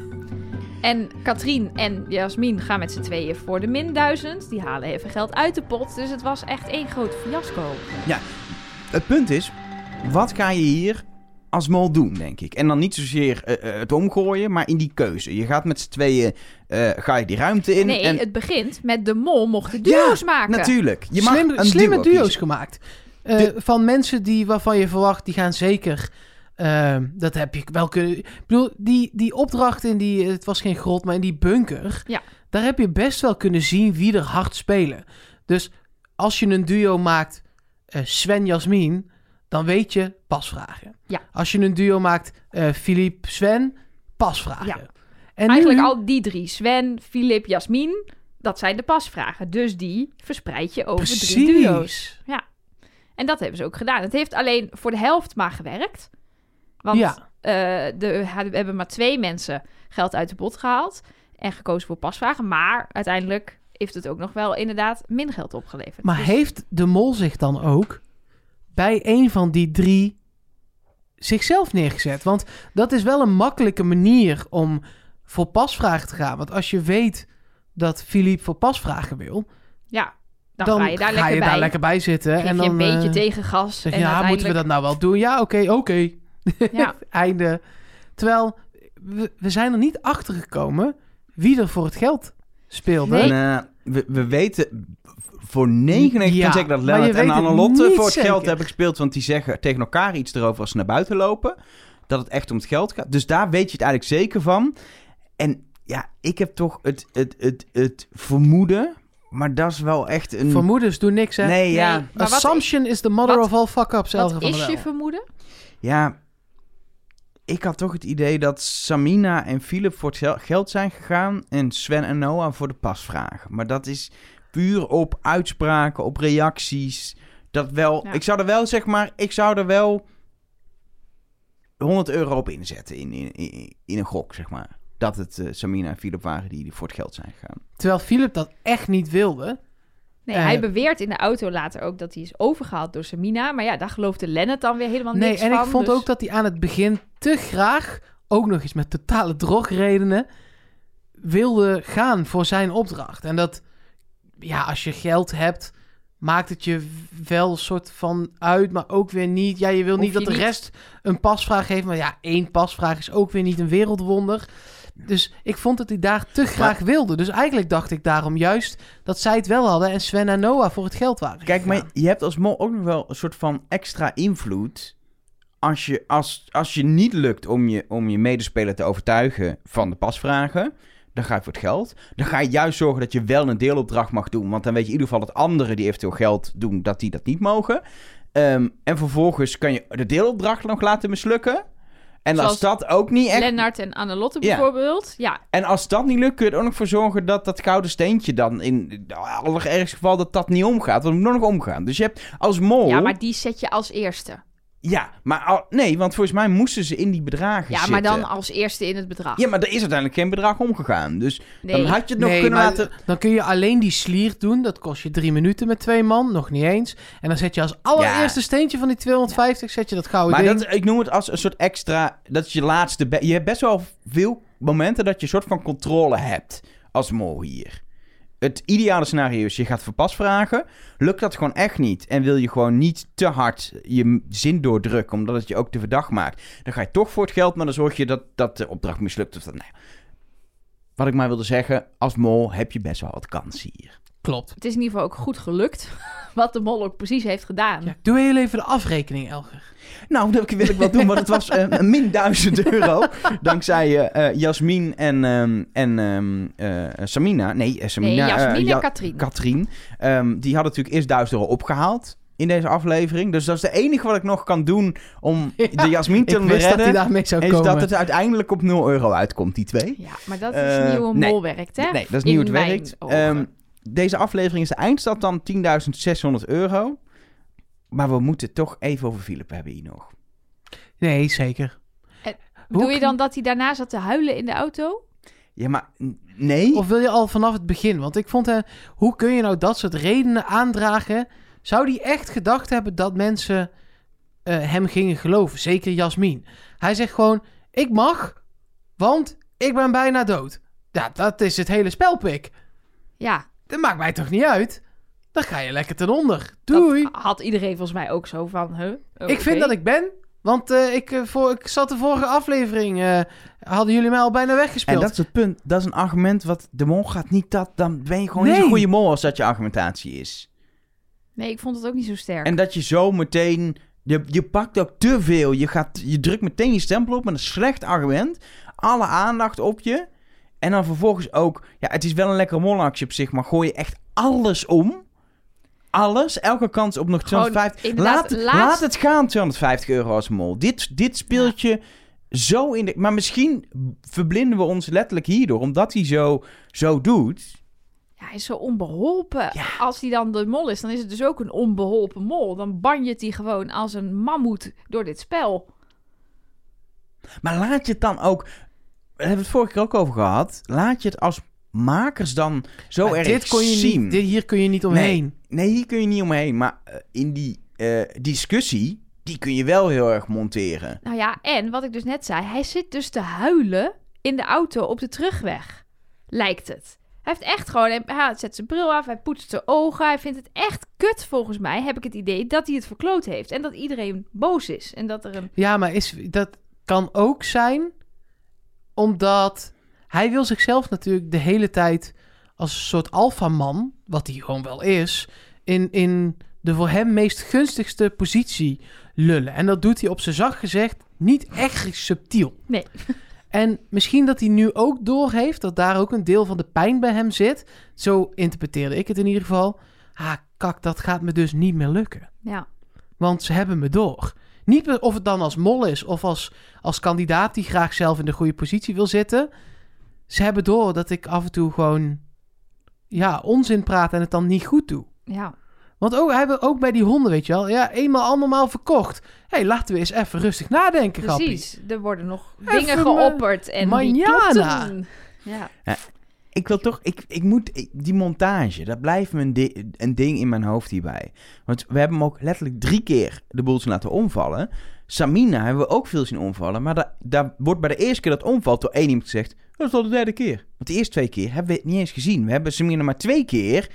[SPEAKER 2] En Katrien en Jasmin gaan met z'n tweeën voor de min 1000. Die halen even geld uit de pot. Dus het was echt één groot fiasco.
[SPEAKER 3] Het punt is, wat ga je hier als mol doen, denk ik? En dan niet zozeer eh, eh, het omgooien, maar in die keuze. Je gaat met z'n tweeën, eh, ga je die ruimte in.
[SPEAKER 2] nee,
[SPEAKER 3] en,
[SPEAKER 2] het begint met de mol mocht de duo's maken.
[SPEAKER 3] natuurlijk. Je mag
[SPEAKER 1] Slim,
[SPEAKER 3] een
[SPEAKER 1] slimme
[SPEAKER 3] duo
[SPEAKER 1] duo's
[SPEAKER 3] kiezen.
[SPEAKER 1] gemaakt. Eh, Van mensen die, waarvan je verwacht, die gaan zeker... eh, dat heb je wel kunnen... Ik bedoel, die, die opdracht in die... Het was geen grot, maar in die bunker...
[SPEAKER 2] Ja.
[SPEAKER 1] Daar heb je best wel kunnen zien wie er hard spelen. Dus als je een duo maakt eh, Sven, Jasmin... Dan weet je pasvragen.
[SPEAKER 2] Ja.
[SPEAKER 1] Als je een duo maakt eh Filip, Sven... Pasvragen.
[SPEAKER 2] Ja.
[SPEAKER 1] En nu-
[SPEAKER 2] Eigenlijk al die drie. Sven, Filip, Jasmin. Dat zijn de pasvragen. Dus die verspreid je over drie
[SPEAKER 1] Precies.
[SPEAKER 2] duo's. En dat hebben ze ook gedaan. Het heeft alleen voor de helft maar gewerkt. Want
[SPEAKER 1] Ja.
[SPEAKER 2] eh, de, we hebben maar twee mensen geld uit de pot gehaald. En gekozen voor pasvragen. Maar uiteindelijk heeft het ook nog wel inderdaad min geld opgeleverd.
[SPEAKER 1] Maar
[SPEAKER 2] Dus-
[SPEAKER 1] heeft de mol zich dan ook bij een van die drie zichzelf neergezet? Want dat is wel een makkelijke manier om voor pasvragen te gaan. Want als je weet dat Filip voor pasvragen wil,
[SPEAKER 2] Ja, dan,
[SPEAKER 1] dan,
[SPEAKER 2] ga je daar lekker bij.
[SPEAKER 1] daar lekker bij zitten.
[SPEAKER 2] Geef
[SPEAKER 1] en
[SPEAKER 2] je
[SPEAKER 1] dan
[SPEAKER 2] een beetje
[SPEAKER 1] eh,
[SPEAKER 2] tegengas.
[SPEAKER 1] Zeg
[SPEAKER 2] En
[SPEAKER 1] je, ja, moeten we
[SPEAKER 2] uiteindelijk...
[SPEAKER 1] dat nou wel doen? Ja, oké, oké.
[SPEAKER 2] Ja.
[SPEAKER 1] Einde. Terwijl, we, we zijn er niet achter gekomen wie er voor het geld speelde.
[SPEAKER 2] Nee.
[SPEAKER 3] En, eh, we, we weten voor 99%
[SPEAKER 1] Ja,
[SPEAKER 3] zeker dat
[SPEAKER 1] maar je
[SPEAKER 3] Lennart en
[SPEAKER 1] weet het
[SPEAKER 3] Annelotte
[SPEAKER 1] niet
[SPEAKER 3] voor het geld
[SPEAKER 1] zeker.
[SPEAKER 3] hebben gespeeld. Want die zeggen tegen elkaar iets erover als ze naar buiten lopen. Dat het echt om het geld gaat. Dus daar weet je het eigenlijk zeker van. En ja, ik heb toch het, het, het, het vermoeden Maar dat is wel echt een...
[SPEAKER 1] Vermoedens doen niks, hè?
[SPEAKER 3] nee, ja.
[SPEAKER 2] Nee. Maar wat-
[SPEAKER 1] Assumption is the mother
[SPEAKER 2] wat-
[SPEAKER 1] of all fuck-ups, Elger
[SPEAKER 2] Wat
[SPEAKER 1] van
[SPEAKER 2] is
[SPEAKER 1] der
[SPEAKER 2] je
[SPEAKER 1] Wel.
[SPEAKER 2] vermoeden?
[SPEAKER 3] Ja, ik had toch het idee dat Samina en Philip voor het gel- geld zijn gegaan en Sven en Noah voor de pasvraag. Maar dat is puur op uitspraken, op reacties. Dat wel,
[SPEAKER 2] Ja.
[SPEAKER 3] ik zou er wel zeg maar, ik zou er wel 100 euro op inzetten in, in, in, in een gok zeg maar. Dat het eh, Samina en Philip waren die voor het geld zijn gegaan.
[SPEAKER 1] Terwijl Philip dat echt niet wilde.
[SPEAKER 2] Nee,
[SPEAKER 1] Eh,
[SPEAKER 2] hij beweert in de auto later ook dat hij is overgehaald door Samina. Maar ja, daar geloofde Lennart dan weer helemaal
[SPEAKER 1] nee,
[SPEAKER 2] niks
[SPEAKER 1] en
[SPEAKER 2] van.
[SPEAKER 1] ik vond
[SPEAKER 2] dus-
[SPEAKER 1] ook dat hij aan het begin te graag, ook nog eens met totale drogredenen, wilde gaan voor zijn opdracht. En dat, ja, als je geld hebt, maakt het je wel een soort van uit, maar ook weer niet. Ja, je wil
[SPEAKER 2] Hoef
[SPEAKER 1] niet dat
[SPEAKER 2] je
[SPEAKER 1] de
[SPEAKER 2] niet.
[SPEAKER 1] rest een pasvraag heeft, maar ja, één pasvraag is ook weer niet een wereldwonder. Dus ik vond dat hij daar te graag wilde. Dus eigenlijk dacht ik daarom juist dat zij het wel hadden en Sven en Noah voor het geld waren.
[SPEAKER 3] Kijk, maar
[SPEAKER 1] gegaan.
[SPEAKER 3] je hebt als mol ook nog wel een soort van extra invloed. Als je, als, als je niet lukt om je, om je medespeler te overtuigen van de pasvragen, dan ga je voor het geld. Dan ga je juist zorgen dat je wel een deelopdracht mag doen. Want dan weet je in ieder geval dat anderen die eventueel geld doen, dat die dat niet mogen. Ehm, en vervolgens kan je de deelopdracht nog laten mislukken. En als
[SPEAKER 2] Zoals
[SPEAKER 3] dat ook niet echt
[SPEAKER 2] Lennart en Annelotte
[SPEAKER 3] Ja.
[SPEAKER 2] bijvoorbeeld. Ja,
[SPEAKER 3] en als dat niet lukt, kun je er ook nog voor zorgen dat dat gouden steentje dan in het allerergste geval dat dat niet omgaat. Want het moet nog omgaan. Dus je hebt als mol.
[SPEAKER 1] Oh.
[SPEAKER 2] ja, maar die zet je als eerste.
[SPEAKER 3] Ja, maar al- nee, want volgens mij moesten ze in die bedragen
[SPEAKER 2] Ja,
[SPEAKER 3] zitten.
[SPEAKER 2] maar dan als eerste in het bedrag.
[SPEAKER 3] Ja, maar er is uiteindelijk geen bedrag omgegaan. Dus
[SPEAKER 2] nee.
[SPEAKER 3] dan had je het nog
[SPEAKER 1] Nee,
[SPEAKER 3] kunnen
[SPEAKER 1] maar
[SPEAKER 3] laten.
[SPEAKER 1] Dan kun je alleen die slier doen. Dat kost je drie minuten met twee man. Nog niet eens. En dan zet je als allereerste steentje van die 250... zet je dat gouden
[SPEAKER 3] Maar
[SPEAKER 1] ding.
[SPEAKER 3] dat, ik noem het als een soort extra. Dat is je laatste. be- Je hebt best wel veel momenten dat je een soort van controle hebt als mol hier. Het ideale scenario is, je gaat voor pas vragen. Lukt dat gewoon echt niet en wil je gewoon niet te hard je m- zin doordrukken, omdat het je ook te verdacht maakt, dan ga je toch voor het geld, maar dan zorg je dat, dat de opdracht mislukt. Of dat, nou ja. Wat ik maar wilde zeggen, als mol heb je best wel wat kans hier.
[SPEAKER 1] Klopt.
[SPEAKER 2] Het is in ieder geval ook goed gelukt wat de mol ook precies heeft gedaan.
[SPEAKER 1] Ja, doe heel even de afrekening, Elger.
[SPEAKER 3] Nou, dat wil ik wel doen, want het was eh, een min 1000 euro. Dankzij eh, eh, Jasmin en, ehm, en ehm, eh, Samina. Nee, eh,
[SPEAKER 2] Nee,
[SPEAKER 3] Samina. eh,
[SPEAKER 2] Jasmin
[SPEAKER 3] Ja-
[SPEAKER 2] en Katrien.
[SPEAKER 3] Katrien. Ehm, die hadden natuurlijk eerst 1000 euro opgehaald in deze aflevering. Dus dat is de enige wat ik nog kan doen om
[SPEAKER 1] Ja,
[SPEAKER 3] de Jasmin te
[SPEAKER 1] Ik wist dat hij
[SPEAKER 3] redden.
[SPEAKER 1] daarmee zou
[SPEAKER 3] is
[SPEAKER 1] komen.
[SPEAKER 3] dat het uiteindelijk op 0 euro uitkomt, die twee.
[SPEAKER 2] Ja, maar dat is
[SPEAKER 3] Eh,
[SPEAKER 2] niet hoe een
[SPEAKER 3] nee.
[SPEAKER 2] mol werkt, hè?
[SPEAKER 3] Nee, dat is
[SPEAKER 2] In
[SPEAKER 3] niet hoe het
[SPEAKER 2] mijn
[SPEAKER 3] werkt.
[SPEAKER 2] ogen.
[SPEAKER 3] Ehm, deze aflevering is de eindstad dan 10.600 euro. Maar we moeten toch even over Philip hebben hier nog.
[SPEAKER 1] Nee, zeker.
[SPEAKER 2] Bedoel
[SPEAKER 1] hoe-
[SPEAKER 2] je dan dat hij daarna zat te huilen in de auto?
[SPEAKER 3] Ja, maar n- nee.
[SPEAKER 1] Of wil je al vanaf het begin? Want ik vond, hè, hoe kun je nou dat soort redenen aandragen? Zou die echt gedacht hebben dat mensen eh, hem gingen geloven? Zeker Jasmin. Hij zegt gewoon, ik mag, want ik ben bijna dood. Ja, dat is het hele spelpik.
[SPEAKER 2] Ja,
[SPEAKER 1] Dat maakt mij toch niet uit? Dan ga je lekker ten onder.
[SPEAKER 2] dat
[SPEAKER 1] Doei.
[SPEAKER 2] had iedereen volgens mij ook zo van, huh?
[SPEAKER 3] Oh,
[SPEAKER 1] Ik vind dat ik ben. Want eh, ik, eh, voor, ik zat de vorige aflevering. eh, hadden jullie mij al bijna
[SPEAKER 3] En
[SPEAKER 1] weggespeeld.
[SPEAKER 3] dat is het punt. Dat is een argument wat de mol gaat niet dat. Dan ben je gewoon niet
[SPEAKER 1] Nee.
[SPEAKER 3] een goede mol als dat je argumentatie is.
[SPEAKER 2] Nee, ik vond het ook niet zo sterk.
[SPEAKER 3] En dat je zo meteen... Je, je pakt ook te veel. Je, gaat, je drukt meteen je stempel op met een slecht argument. Alle aandacht op je. En dan vervolgens ook... Ja, het is wel een lekkere molactie op zich, maar gooi je echt alles om. Alles. Elke kans op nog
[SPEAKER 2] Gewoon
[SPEAKER 3] 250...
[SPEAKER 2] inderdaad,
[SPEAKER 3] Laat, het-
[SPEAKER 2] laatst-
[SPEAKER 3] laat het gaan, 250 euro als mol. Dit, dit speelt je zo in de... Maar misschien verblinden we ons letterlijk hierdoor. Omdat hij zo, zo doet...
[SPEAKER 2] Ja, hij is zo onbeholpen.
[SPEAKER 3] Ja.
[SPEAKER 2] Als hij dan de mol is, dan is het dus ook een onbeholpen mol. Dan banjet hij gewoon als een mammoet door dit spel.
[SPEAKER 3] Maar laat je het dan ook. We hebben het vorige keer ook over gehad. Laat je het als makers dan zo
[SPEAKER 1] Maar
[SPEAKER 3] erg
[SPEAKER 1] dit kon je
[SPEAKER 3] zien.
[SPEAKER 1] Niet, dit, hier kun je niet omheen.
[SPEAKER 3] Nee, hier kun je niet omheen. Maar eh, in die eh, discussie, die kun je wel heel erg monteren.
[SPEAKER 2] Nou ja, en wat ik dus net zei, hij zit dus te huilen in de auto op de terugweg. Lijkt het. Hij heeft echt gewoon, hij- hij zet zijn bril af, hij poetst zijn ogen. Hij vindt het echt kut volgens mij, heb ik het idee, dat hij het verkloot heeft. En dat iedereen boos is. En dat er een...
[SPEAKER 1] Ja, maar is, dat kan ook zijn. Omdat hij wil zichzelf natuurlijk de hele tijd als een soort alfaman, wat hij gewoon wel is, in, in de voor hem meest gunstigste positie lullen. En dat doet hij op zijn zacht gezegd niet echt subtiel.
[SPEAKER 2] Nee.
[SPEAKER 1] En misschien dat hij nu ook doorheeft dat daar ook een deel van de pijn bij hem zit. Zo interpreteerde ik het in ieder geval. Ah, kak, dat gaat me dus niet meer lukken.
[SPEAKER 2] Ja.
[SPEAKER 1] Want ze hebben me door. Niet meer of het dan als mol is of als, als kandidaat die graag zelf in de goede positie wil zitten. Ze hebben door dat ik af en toe gewoon ja, onzin praat en het dan niet goed doe.
[SPEAKER 2] Ja.
[SPEAKER 1] Want ook, hebben, ook bij die honden, weet je wel. Ja, eenmaal allemaal verkocht. Hé, hey, laten we eens even rustig nadenken, grappie.
[SPEAKER 2] Precies. Er worden nog
[SPEAKER 1] Even
[SPEAKER 2] dingen
[SPEAKER 1] me-
[SPEAKER 2] geopperd en die
[SPEAKER 1] manjana.
[SPEAKER 2] klopten. Ja.
[SPEAKER 3] Ik wil toch, ik, ik moet, ik- die montage, dat blijft me een, di- een ding in mijn hoofd hierbij. Want we hebben hem ook letterlijk drie keer de boel zien laten omvallen. Samina hebben we ook veel zien omvallen, maar da- daar wordt bij de eerste keer dat omvalt door één iemand gezegd, dat is al de derde keer. Want de eerste twee keer hebben we het niet eens gezien. We hebben Samina maar twee keer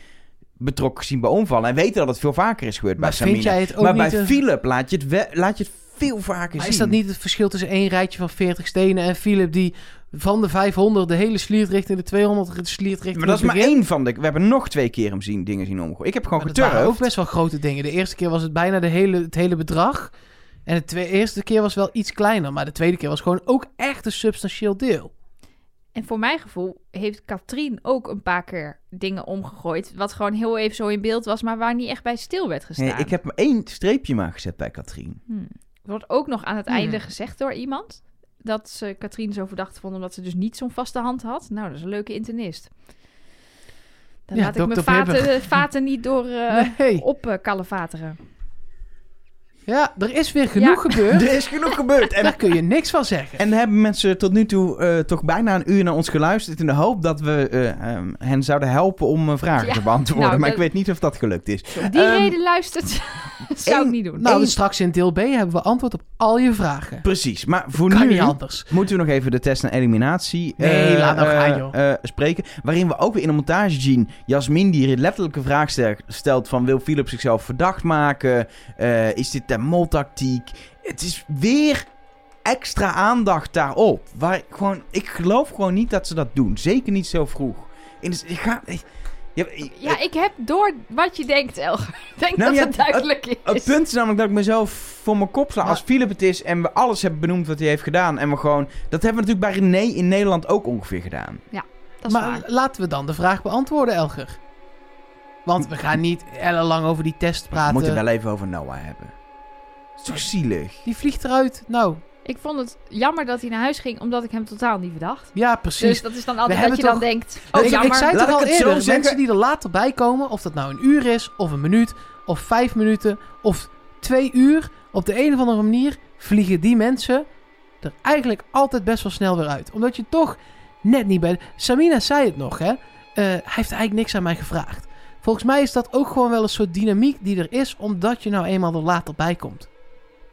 [SPEAKER 3] betrokken gezien bij omvallen en weten dat het veel vaker is gebeurd
[SPEAKER 1] Maar
[SPEAKER 3] bij Samina.
[SPEAKER 1] vind jij het ook
[SPEAKER 3] maar
[SPEAKER 1] niet...
[SPEAKER 3] bij
[SPEAKER 1] een-
[SPEAKER 3] Philip laat je het, wel- laat je het veel vaker
[SPEAKER 1] Maar
[SPEAKER 3] zien.
[SPEAKER 1] is dat niet het verschil tussen één rijtje van 40 stenen en Philip die van de 500 de hele sliert richting de 200 sliert richting
[SPEAKER 3] Maar dat is
[SPEAKER 1] het
[SPEAKER 3] maar
[SPEAKER 1] begin?
[SPEAKER 3] één van de... We hebben nog twee keer hem zien, dingen zien omgooien. Ik heb gewoon
[SPEAKER 1] Maar dat waren ook
[SPEAKER 3] geturfd.
[SPEAKER 1] best wel grote dingen. De eerste keer was het bijna de hele, het hele bedrag. En de twee, eerste keer was wel iets kleiner. Maar de tweede keer was gewoon ook echt een substantieel deel.
[SPEAKER 2] En voor mijn gevoel heeft Katrien ook een paar keer dingen omgegooid. Wat gewoon heel even zo in beeld was, maar waar niet echt bij stil werd gestaan.
[SPEAKER 3] Nee, ik heb maar één streepje maar gezet bij Katrien.
[SPEAKER 2] Hmm. Wordt ook nog aan het
[SPEAKER 1] Hmm.
[SPEAKER 2] einde gezegd door iemand. Dat ze Katrien zo verdacht vond omdat ze dus niet zo'n vaste hand had. Nou, dat is een leuke internist. Dan
[SPEAKER 1] Ja,
[SPEAKER 2] laat ik mijn
[SPEAKER 1] dokter Bibber.
[SPEAKER 2] vaten, vaten niet door eh
[SPEAKER 1] nee.
[SPEAKER 2] op eh, kalevateren.
[SPEAKER 1] Ja, er is weer genoeg gebeurd.
[SPEAKER 3] Er is genoeg gebeurd. En,
[SPEAKER 1] Daar kun je niks van zeggen.
[SPEAKER 3] en hebben mensen tot nu toe eh, toch bijna een uur naar ons geluisterd... in de hoop dat we eh, ehm, hen zouden helpen om eh, vragen
[SPEAKER 2] Ja,
[SPEAKER 3] te beantwoorden.
[SPEAKER 2] nou,
[SPEAKER 3] maar ik
[SPEAKER 2] dat-
[SPEAKER 3] weet niet of dat gelukt is.
[SPEAKER 2] Als je om die
[SPEAKER 3] Ehm,
[SPEAKER 2] reden luistert, zou ik
[SPEAKER 3] één-
[SPEAKER 2] niet doen.
[SPEAKER 1] Nou,
[SPEAKER 3] Eén-
[SPEAKER 1] dus straks in deel B hebben we antwoord op al je vragen.
[SPEAKER 3] Precies, maar voor
[SPEAKER 1] Kan
[SPEAKER 3] nu...
[SPEAKER 1] niet anders.
[SPEAKER 3] Moeten we nog even de test en eliminatie
[SPEAKER 1] Nee,
[SPEAKER 3] eh,
[SPEAKER 1] laat nou
[SPEAKER 3] eh,
[SPEAKER 1] gaan, joh.
[SPEAKER 3] eh, spreken? Waarin we ook weer in de montage zien... Jasmin die letterlijk een vraag ster- stelt van... wil Philip zichzelf verdacht maken? Eh, is dit tactiek? Het is weer extra aandacht daarop. Waar ik gewoon, ik geloof gewoon niet dat ze dat doen. Zeker niet zo vroeg. En dus, ik ga... ik- ja, ik-
[SPEAKER 2] Ja, ik heb door wat je denkt, Elger. Ik denk
[SPEAKER 3] Nou,
[SPEAKER 2] dat
[SPEAKER 3] ja,
[SPEAKER 2] het duidelijk
[SPEAKER 3] Het
[SPEAKER 2] is.
[SPEAKER 3] punt is namelijk dat ik mezelf voor mijn kop sla.
[SPEAKER 1] Ja.
[SPEAKER 3] Als Philip het is en we alles hebben benoemd wat hij heeft gedaan. En we gewoon... Dat hebben we natuurlijk bij René in Nederland ook ongeveer gedaan.
[SPEAKER 2] Dat is
[SPEAKER 1] maar
[SPEAKER 2] waar.
[SPEAKER 1] laten we dan de vraag beantwoorden, Elger. Want we gaan niet ellenlang over die test
[SPEAKER 3] We
[SPEAKER 1] praten.
[SPEAKER 3] moeten het wel even over Noah hebben. Het is toch zielig?
[SPEAKER 1] Die vliegt eruit. Nou,
[SPEAKER 2] Ik vond het jammer dat hij naar huis ging, omdat ik hem totaal niet verdacht.
[SPEAKER 1] ja, precies.
[SPEAKER 2] Dus dat is dan altijd
[SPEAKER 1] We
[SPEAKER 2] dat je
[SPEAKER 1] hebben
[SPEAKER 2] dan denkt,
[SPEAKER 1] Dus
[SPEAKER 2] oh
[SPEAKER 1] ik,
[SPEAKER 2] jammer.
[SPEAKER 1] ik zei het
[SPEAKER 3] Laat
[SPEAKER 1] toch
[SPEAKER 3] ik
[SPEAKER 1] al
[SPEAKER 3] het zo
[SPEAKER 1] eerder,
[SPEAKER 3] zeggen.
[SPEAKER 1] mensen die er later bij komen, of dat nou een uur is, of een minuut, of vijf minuten, of twee uur, op de een of andere manier vliegen die mensen er eigenlijk altijd best wel snel weer uit. Omdat je toch net niet bij... Samina zei het nog, hè. Eh, hij heeft eigenlijk niks aan mij gevraagd. Volgens mij is dat ook gewoon wel een soort dynamiek die er is, omdat je nou eenmaal er later bij komt.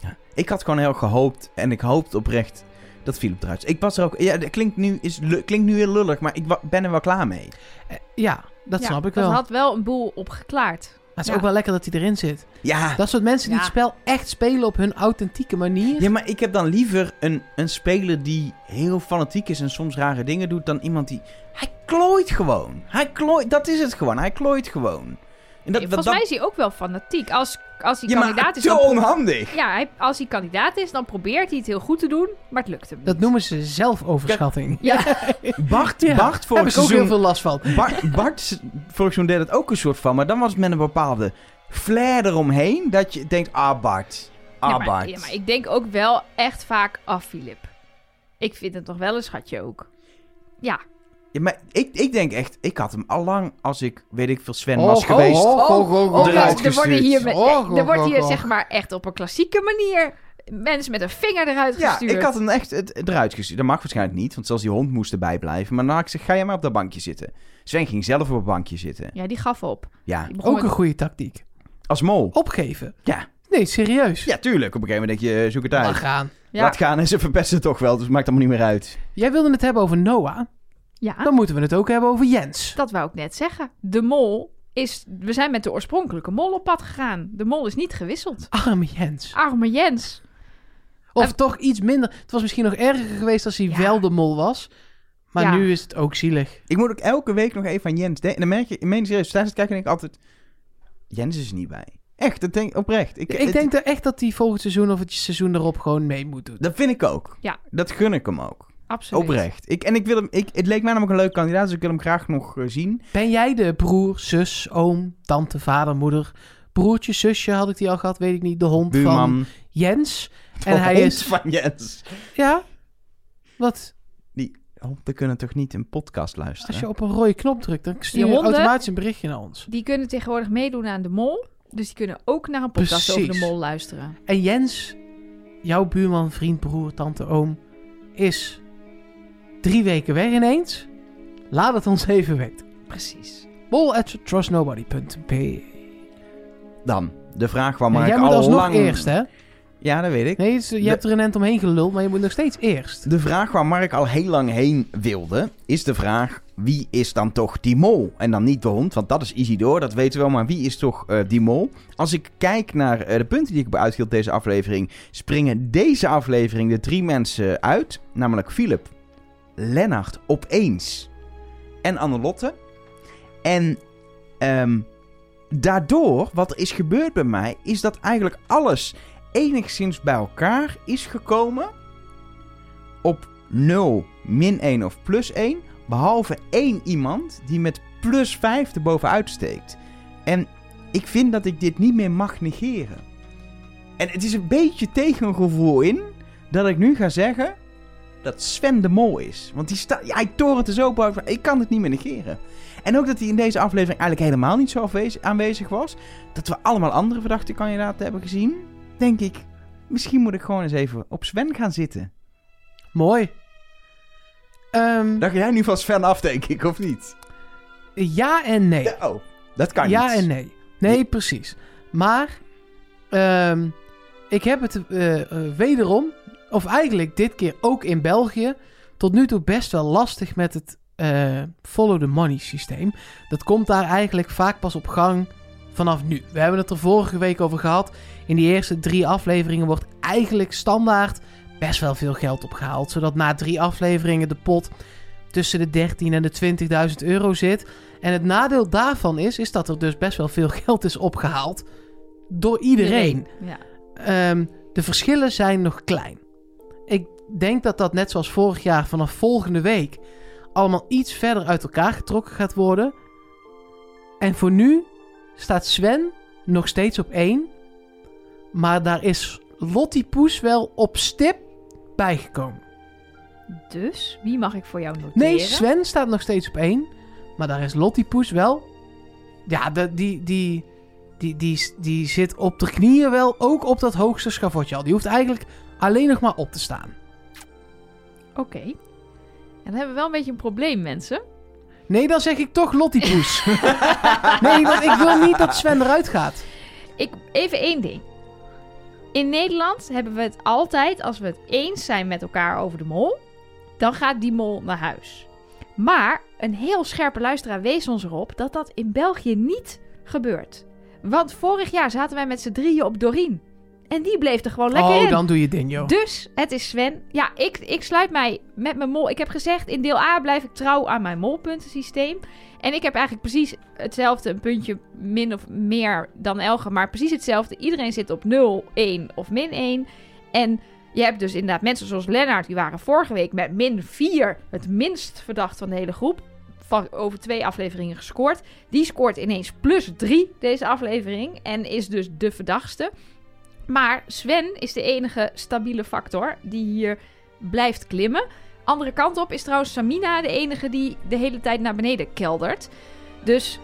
[SPEAKER 3] Ja. Ik had gewoon heel gehoopt en ik hoopte oprecht dat Philip eruit is. Ik was er ook... Ja, dat klinkt nu, is, lu- klinkt nu heel lullig, maar ik wa- ben er wel klaar mee.
[SPEAKER 1] Eh, ja, dat
[SPEAKER 2] Ja,
[SPEAKER 1] snap ik wel.
[SPEAKER 2] Dat
[SPEAKER 1] Maar
[SPEAKER 2] had wel een boel opgeklaard.
[SPEAKER 1] het is
[SPEAKER 2] ja.
[SPEAKER 1] ook wel lekker dat hij erin zit.
[SPEAKER 3] Ja.
[SPEAKER 1] Dat soort mensen die
[SPEAKER 2] Ja.
[SPEAKER 1] het spel echt spelen op hun authentieke manier.
[SPEAKER 3] Ja, maar ik heb dan liever een, een speler die heel fanatiek is en soms rare dingen doet... dan iemand die... Hij klooit gewoon. Hij klooit... Dat is het gewoon. Hij klooit gewoon. En dat,
[SPEAKER 2] Volgens
[SPEAKER 3] dat,
[SPEAKER 2] mij is hij ook wel fanatiek. Als, als hij
[SPEAKER 3] ja,
[SPEAKER 2] kandidaat
[SPEAKER 3] maar
[SPEAKER 2] is,
[SPEAKER 3] zo
[SPEAKER 2] dan pro-
[SPEAKER 3] onhandig.
[SPEAKER 2] ja, hij- als hij kandidaat is, dan probeert hij het heel goed te doen, maar het lukt hem niet.
[SPEAKER 1] Dat noemen ze zelfoverschatting.
[SPEAKER 3] Bart,
[SPEAKER 1] Ja,
[SPEAKER 3] Bart
[SPEAKER 1] Daar heb
[SPEAKER 3] vorig
[SPEAKER 1] ik ook heel
[SPEAKER 3] seizoen
[SPEAKER 1] veel last van.
[SPEAKER 3] Bart, Bart vorig seizoen deed het ook een soort van, maar dan was het met een bepaalde flair eromheen dat je denkt, ah Bart, ah
[SPEAKER 2] Ja, maar,
[SPEAKER 3] Bart.
[SPEAKER 2] ja, maar ik denk ook wel echt vaak af, Filip. Ik vind het nog wel een schatje ook. Ja,
[SPEAKER 3] Ja, maar ik, ik denk echt, ik had hem al lang als ik, weet ik veel, Sven
[SPEAKER 1] Oh,
[SPEAKER 3] was
[SPEAKER 1] oh,
[SPEAKER 3] geweest.
[SPEAKER 1] oh.
[SPEAKER 2] Oh,
[SPEAKER 3] eruit
[SPEAKER 2] mensen, er, worden
[SPEAKER 3] gestuurd.
[SPEAKER 2] hier met-
[SPEAKER 1] Och,
[SPEAKER 2] er wordt
[SPEAKER 1] och,
[SPEAKER 2] hier
[SPEAKER 1] och.
[SPEAKER 2] zeg maar echt op een klassieke manier mensen met een vinger eruit
[SPEAKER 3] Ja,
[SPEAKER 2] gestuurd.
[SPEAKER 3] ik had hem echt het, het eruit gestuurd. Dat mag waarschijnlijk niet, want zelfs die hond moest erbij blijven. Maar dan had ik gezegd, ga jij maar op dat bankje zitten. Sven ging zelf op het bankje zitten.
[SPEAKER 2] Ja, die gaf op.
[SPEAKER 3] Ja,
[SPEAKER 2] Die
[SPEAKER 1] oh.
[SPEAKER 2] begon
[SPEAKER 1] Ook
[SPEAKER 2] met-
[SPEAKER 1] een goede tactiek.
[SPEAKER 3] als mol.
[SPEAKER 1] Opgeven.
[SPEAKER 3] Ja.
[SPEAKER 1] Nee, serieus.
[SPEAKER 3] Ja, tuurlijk. Op een gegeven moment denk je, eh, zoek het
[SPEAKER 1] Laat
[SPEAKER 3] uit.
[SPEAKER 1] gaan.
[SPEAKER 2] Ja.
[SPEAKER 3] Laat gaan en ze verpesten het toch wel, dus het maakt allemaal niet meer uit.
[SPEAKER 1] Jij wilde het hebben over Noah.
[SPEAKER 2] ja,
[SPEAKER 1] Dan moeten we het ook hebben over Jens.
[SPEAKER 2] dat wou ik net zeggen. De mol is... We zijn met de oorspronkelijke mol op pad gegaan. De mol is niet gewisseld.
[SPEAKER 1] Arme Jens.
[SPEAKER 2] Arme Jens.
[SPEAKER 1] Of toch iets minder. Het was misschien nog erger geweest als hij
[SPEAKER 2] Ja.
[SPEAKER 1] wel de mol was. Maar
[SPEAKER 2] Ja.
[SPEAKER 1] nu is het ook zielig.
[SPEAKER 3] Ik moet ook elke week nog even aan Jens denken. En dan merk je, ik meen het serieus, tijdens het kijken denk ik altijd... Jens is er niet bij. Echt, dat denk ik oprecht. Ik,
[SPEAKER 1] Ik
[SPEAKER 3] het-
[SPEAKER 1] denk er echt dat hij volgend seizoen of het seizoen erop gewoon mee moet doen.
[SPEAKER 3] Dat vind ik ook.
[SPEAKER 2] Ja.
[SPEAKER 3] Dat gun ik hem ook.
[SPEAKER 2] absoluut.
[SPEAKER 3] Oprecht. Ik, en ik wil hem, ik, het leek mij namelijk een leuk kandidaat, dus ik wil hem graag nog eh, zien.
[SPEAKER 1] Ben jij de broer, zus, oom, tante, vader, moeder, broertje, zusje had ik die al gehad, weet ik niet, de hond van
[SPEAKER 3] Buurman.
[SPEAKER 1] Jens? En hij
[SPEAKER 3] Oh, Hond
[SPEAKER 1] is,
[SPEAKER 3] van Jens.
[SPEAKER 1] ja, wat?
[SPEAKER 3] Honden kunnen toch niet een podcast luisteren?
[SPEAKER 1] Als je op een rode knop drukt, dan stuur je
[SPEAKER 2] Die honden?
[SPEAKER 1] automatisch een berichtje naar ons.
[SPEAKER 2] Die kunnen tegenwoordig meedoen aan de mol. Dus die kunnen ook naar een podcast over
[SPEAKER 1] Precies.
[SPEAKER 2] de mol luisteren.
[SPEAKER 1] En Jens, jouw buurman, vriend, broer, tante, oom, is drie weken weg ineens. Laat het ons even weten.
[SPEAKER 2] Precies.
[SPEAKER 1] Bol at trustnobody.be.
[SPEAKER 3] Dan, de vraag waar
[SPEAKER 1] Ja,
[SPEAKER 3] Mark
[SPEAKER 1] jij moet
[SPEAKER 3] al
[SPEAKER 1] alsnog
[SPEAKER 3] lang...
[SPEAKER 1] eerst, hè?
[SPEAKER 3] Ja, dat weet ik.
[SPEAKER 1] Nee, het is- je hebt er een end omheen geluld, maar je moet nog steeds eerst.
[SPEAKER 3] De vraag waar Mark al heel lang heen wilde, is de vraag... Wie is dan toch die mol? En dan niet de hond, want dat is Isidore, dat weten we wel. Maar wie is toch eh, die mol? Als ik kijk naar eh, de punten die ik heb uitgedeeld deze aflevering... springen deze aflevering de drie mensen uit. Namelijk Philip, Lennart opeens en Annelotte. En ehm, daardoor, wat er is gebeurd bij mij... is dat eigenlijk alles enigszins bij elkaar is gekomen op 0, min 1 of plus 1. Behalve één iemand die met plus 5 erbovenuit steekt. En ik vind dat ik dit niet meer mag negeren. En het is een beetje tegen een gevoel in dat ik nu ga zeggen dat Sven de Mol is. Want die sta- ja, hij torent er zo boven. Ik kan het niet meer negeren. En ook dat hij in deze aflevering eigenlijk helemaal niet zo afwez- aanwezig was. Dat we allemaal andere verdachte kandidaten hebben gezien. Denk ik, misschien moet ik gewoon eens even op Sven gaan zitten.
[SPEAKER 1] Mooi. Ehm,
[SPEAKER 3] Dan ga jij nu van Sven af, denk ik, of niet?
[SPEAKER 1] ja en nee.
[SPEAKER 3] Ja, oh, dat kan
[SPEAKER 1] ja
[SPEAKER 3] niet.
[SPEAKER 1] en nee. Nee, precies. Maar ehm, ik heb het eh, eh, wederom, of eigenlijk dit keer ook in België, tot nu toe best wel lastig met het eh, follow the money systeem. Dat komt daar eigenlijk vaak pas op gang vanaf nu. We hebben het er vorige week over gehad. In die eerste drie afleveringen wordt eigenlijk standaard best wel veel geld opgehaald. Zodat na drie afleveringen de pot tussen de 13 en de 20.000 euro zit. En het nadeel daarvan is, is dat er dus best wel veel geld is opgehaald door iedereen.
[SPEAKER 2] Ja.
[SPEAKER 1] Ehm, de verschillen zijn nog klein. Ik denk dat dat net zoals vorig jaar vanaf volgende week allemaal iets verder uit elkaar getrokken gaat worden. En voor nu staat Sven nog steeds op één. Maar daar is Lottie Poes wel op stip bijgekomen.
[SPEAKER 2] Dus, wie mag ik voor jou noteren?
[SPEAKER 1] Nee, Sven staat nog steeds op één. Maar daar is Lottie Poes wel. Ja, de- die, die, die, die, die zit op de knieën wel ook op dat hoogste schavotje al. Die hoeft eigenlijk alleen nog maar op te staan.
[SPEAKER 2] Oké. En dan hebben we wel een beetje een probleem, mensen.
[SPEAKER 1] Nee, dan zeg ik toch Lottie Poes. nee, want ik wil niet dat Sven eruit gaat.
[SPEAKER 2] Ik, even één ding. In Nederland hebben we het altijd, als we het eens zijn met elkaar over de mol, dan gaat die mol naar huis. Maar een heel scherpe luisteraar wees ons erop dat dat in België niet gebeurt. Want vorig jaar zaten wij met z'n drieën op Dorien. En die bleef er gewoon lekker
[SPEAKER 1] oh,
[SPEAKER 2] in.
[SPEAKER 1] dan doe je ding, joh.
[SPEAKER 2] Dus het is Sven. Ja, ik, ik sluit mij met mijn mol. Ik heb gezegd, in deel A blijf ik trouw aan mijn molpuntensysteem. En ik heb eigenlijk precies hetzelfde, een puntje min of meer dan Elge, maar precies hetzelfde. Iedereen zit op 0, 1 of min 1. En je hebt dus inderdaad mensen zoals Lennart, die waren vorige week met min 4, het minst verdacht van de hele groep. Van over twee afleveringen gescoord. Die scoort ineens plus 3 deze aflevering. En is dus de verdachtste. Maar Sven is de enige stabiele factor die hier blijft klimmen. Andere kant op is trouwens Samina de enige die de hele tijd naar beneden keldert. Dus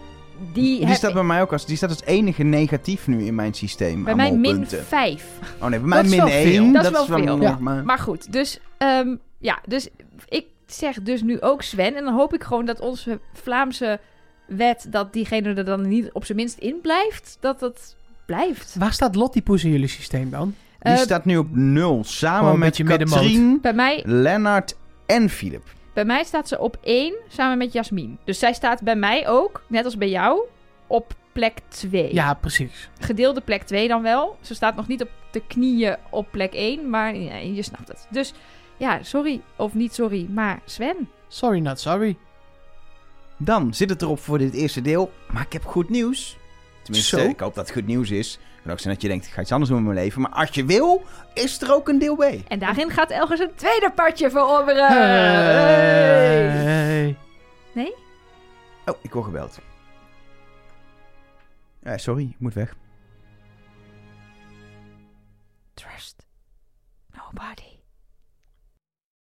[SPEAKER 2] die,
[SPEAKER 3] Die
[SPEAKER 2] heb-
[SPEAKER 3] staat bij mij ook als, die staat als enige negatief nu in mijn systeem.
[SPEAKER 2] bij
[SPEAKER 3] aan
[SPEAKER 2] mij min
[SPEAKER 3] molpunten.
[SPEAKER 2] 5.
[SPEAKER 3] Oh nee, bij mij
[SPEAKER 1] Dat is
[SPEAKER 3] min
[SPEAKER 1] wel
[SPEAKER 3] 1.
[SPEAKER 1] veel.
[SPEAKER 2] Dat is wel veel.
[SPEAKER 3] nog
[SPEAKER 1] Ja.
[SPEAKER 3] maar-
[SPEAKER 2] Maar goed, dus, ehm, ja, dus ik zeg dus nu ook Sven. En dan hoop ik gewoon dat onze Vlaamse wet, dat diegene er dan niet op zijn minst in blijft, dat dat blijft.
[SPEAKER 1] Waar staat Lottie Poes in jullie systeem dan?
[SPEAKER 3] Die
[SPEAKER 2] Eh,
[SPEAKER 3] staat nu op 0. Samen
[SPEAKER 1] Gewoon Oh, een
[SPEAKER 3] met
[SPEAKER 1] beetje middenmoot.
[SPEAKER 3] Katrien,
[SPEAKER 2] bij, mij,
[SPEAKER 3] Lennart en Filip.
[SPEAKER 2] bij mij staat ze op één samen met Jasmin. Dus zij staat bij mij ook, net als bij jou, op plek 2.
[SPEAKER 1] Ja, precies.
[SPEAKER 2] Gedeelde plek 2 dan wel. Ze staat nog niet op de knieën op plek 1, maar ja, je snapt het. Dus ja, sorry of niet sorry, maar Sven.
[SPEAKER 1] Sorry, not sorry.
[SPEAKER 3] Dan zit het erop voor dit eerste deel. Maar ik heb goed nieuws. Tenminste,
[SPEAKER 1] Zo.
[SPEAKER 3] ik hoop dat het goed nieuws is. kan ook zijn dat je denkt, ik ga iets anders doen met mijn leven. Maar als je wil, is er ook een deel B.
[SPEAKER 2] En daarin gaat Elger zijn tweede partje veroveren. Hey.
[SPEAKER 1] Hey.
[SPEAKER 3] Oh, ik word gebeld. Eh, sorry, ik moet weg.
[SPEAKER 2] Trust nobody.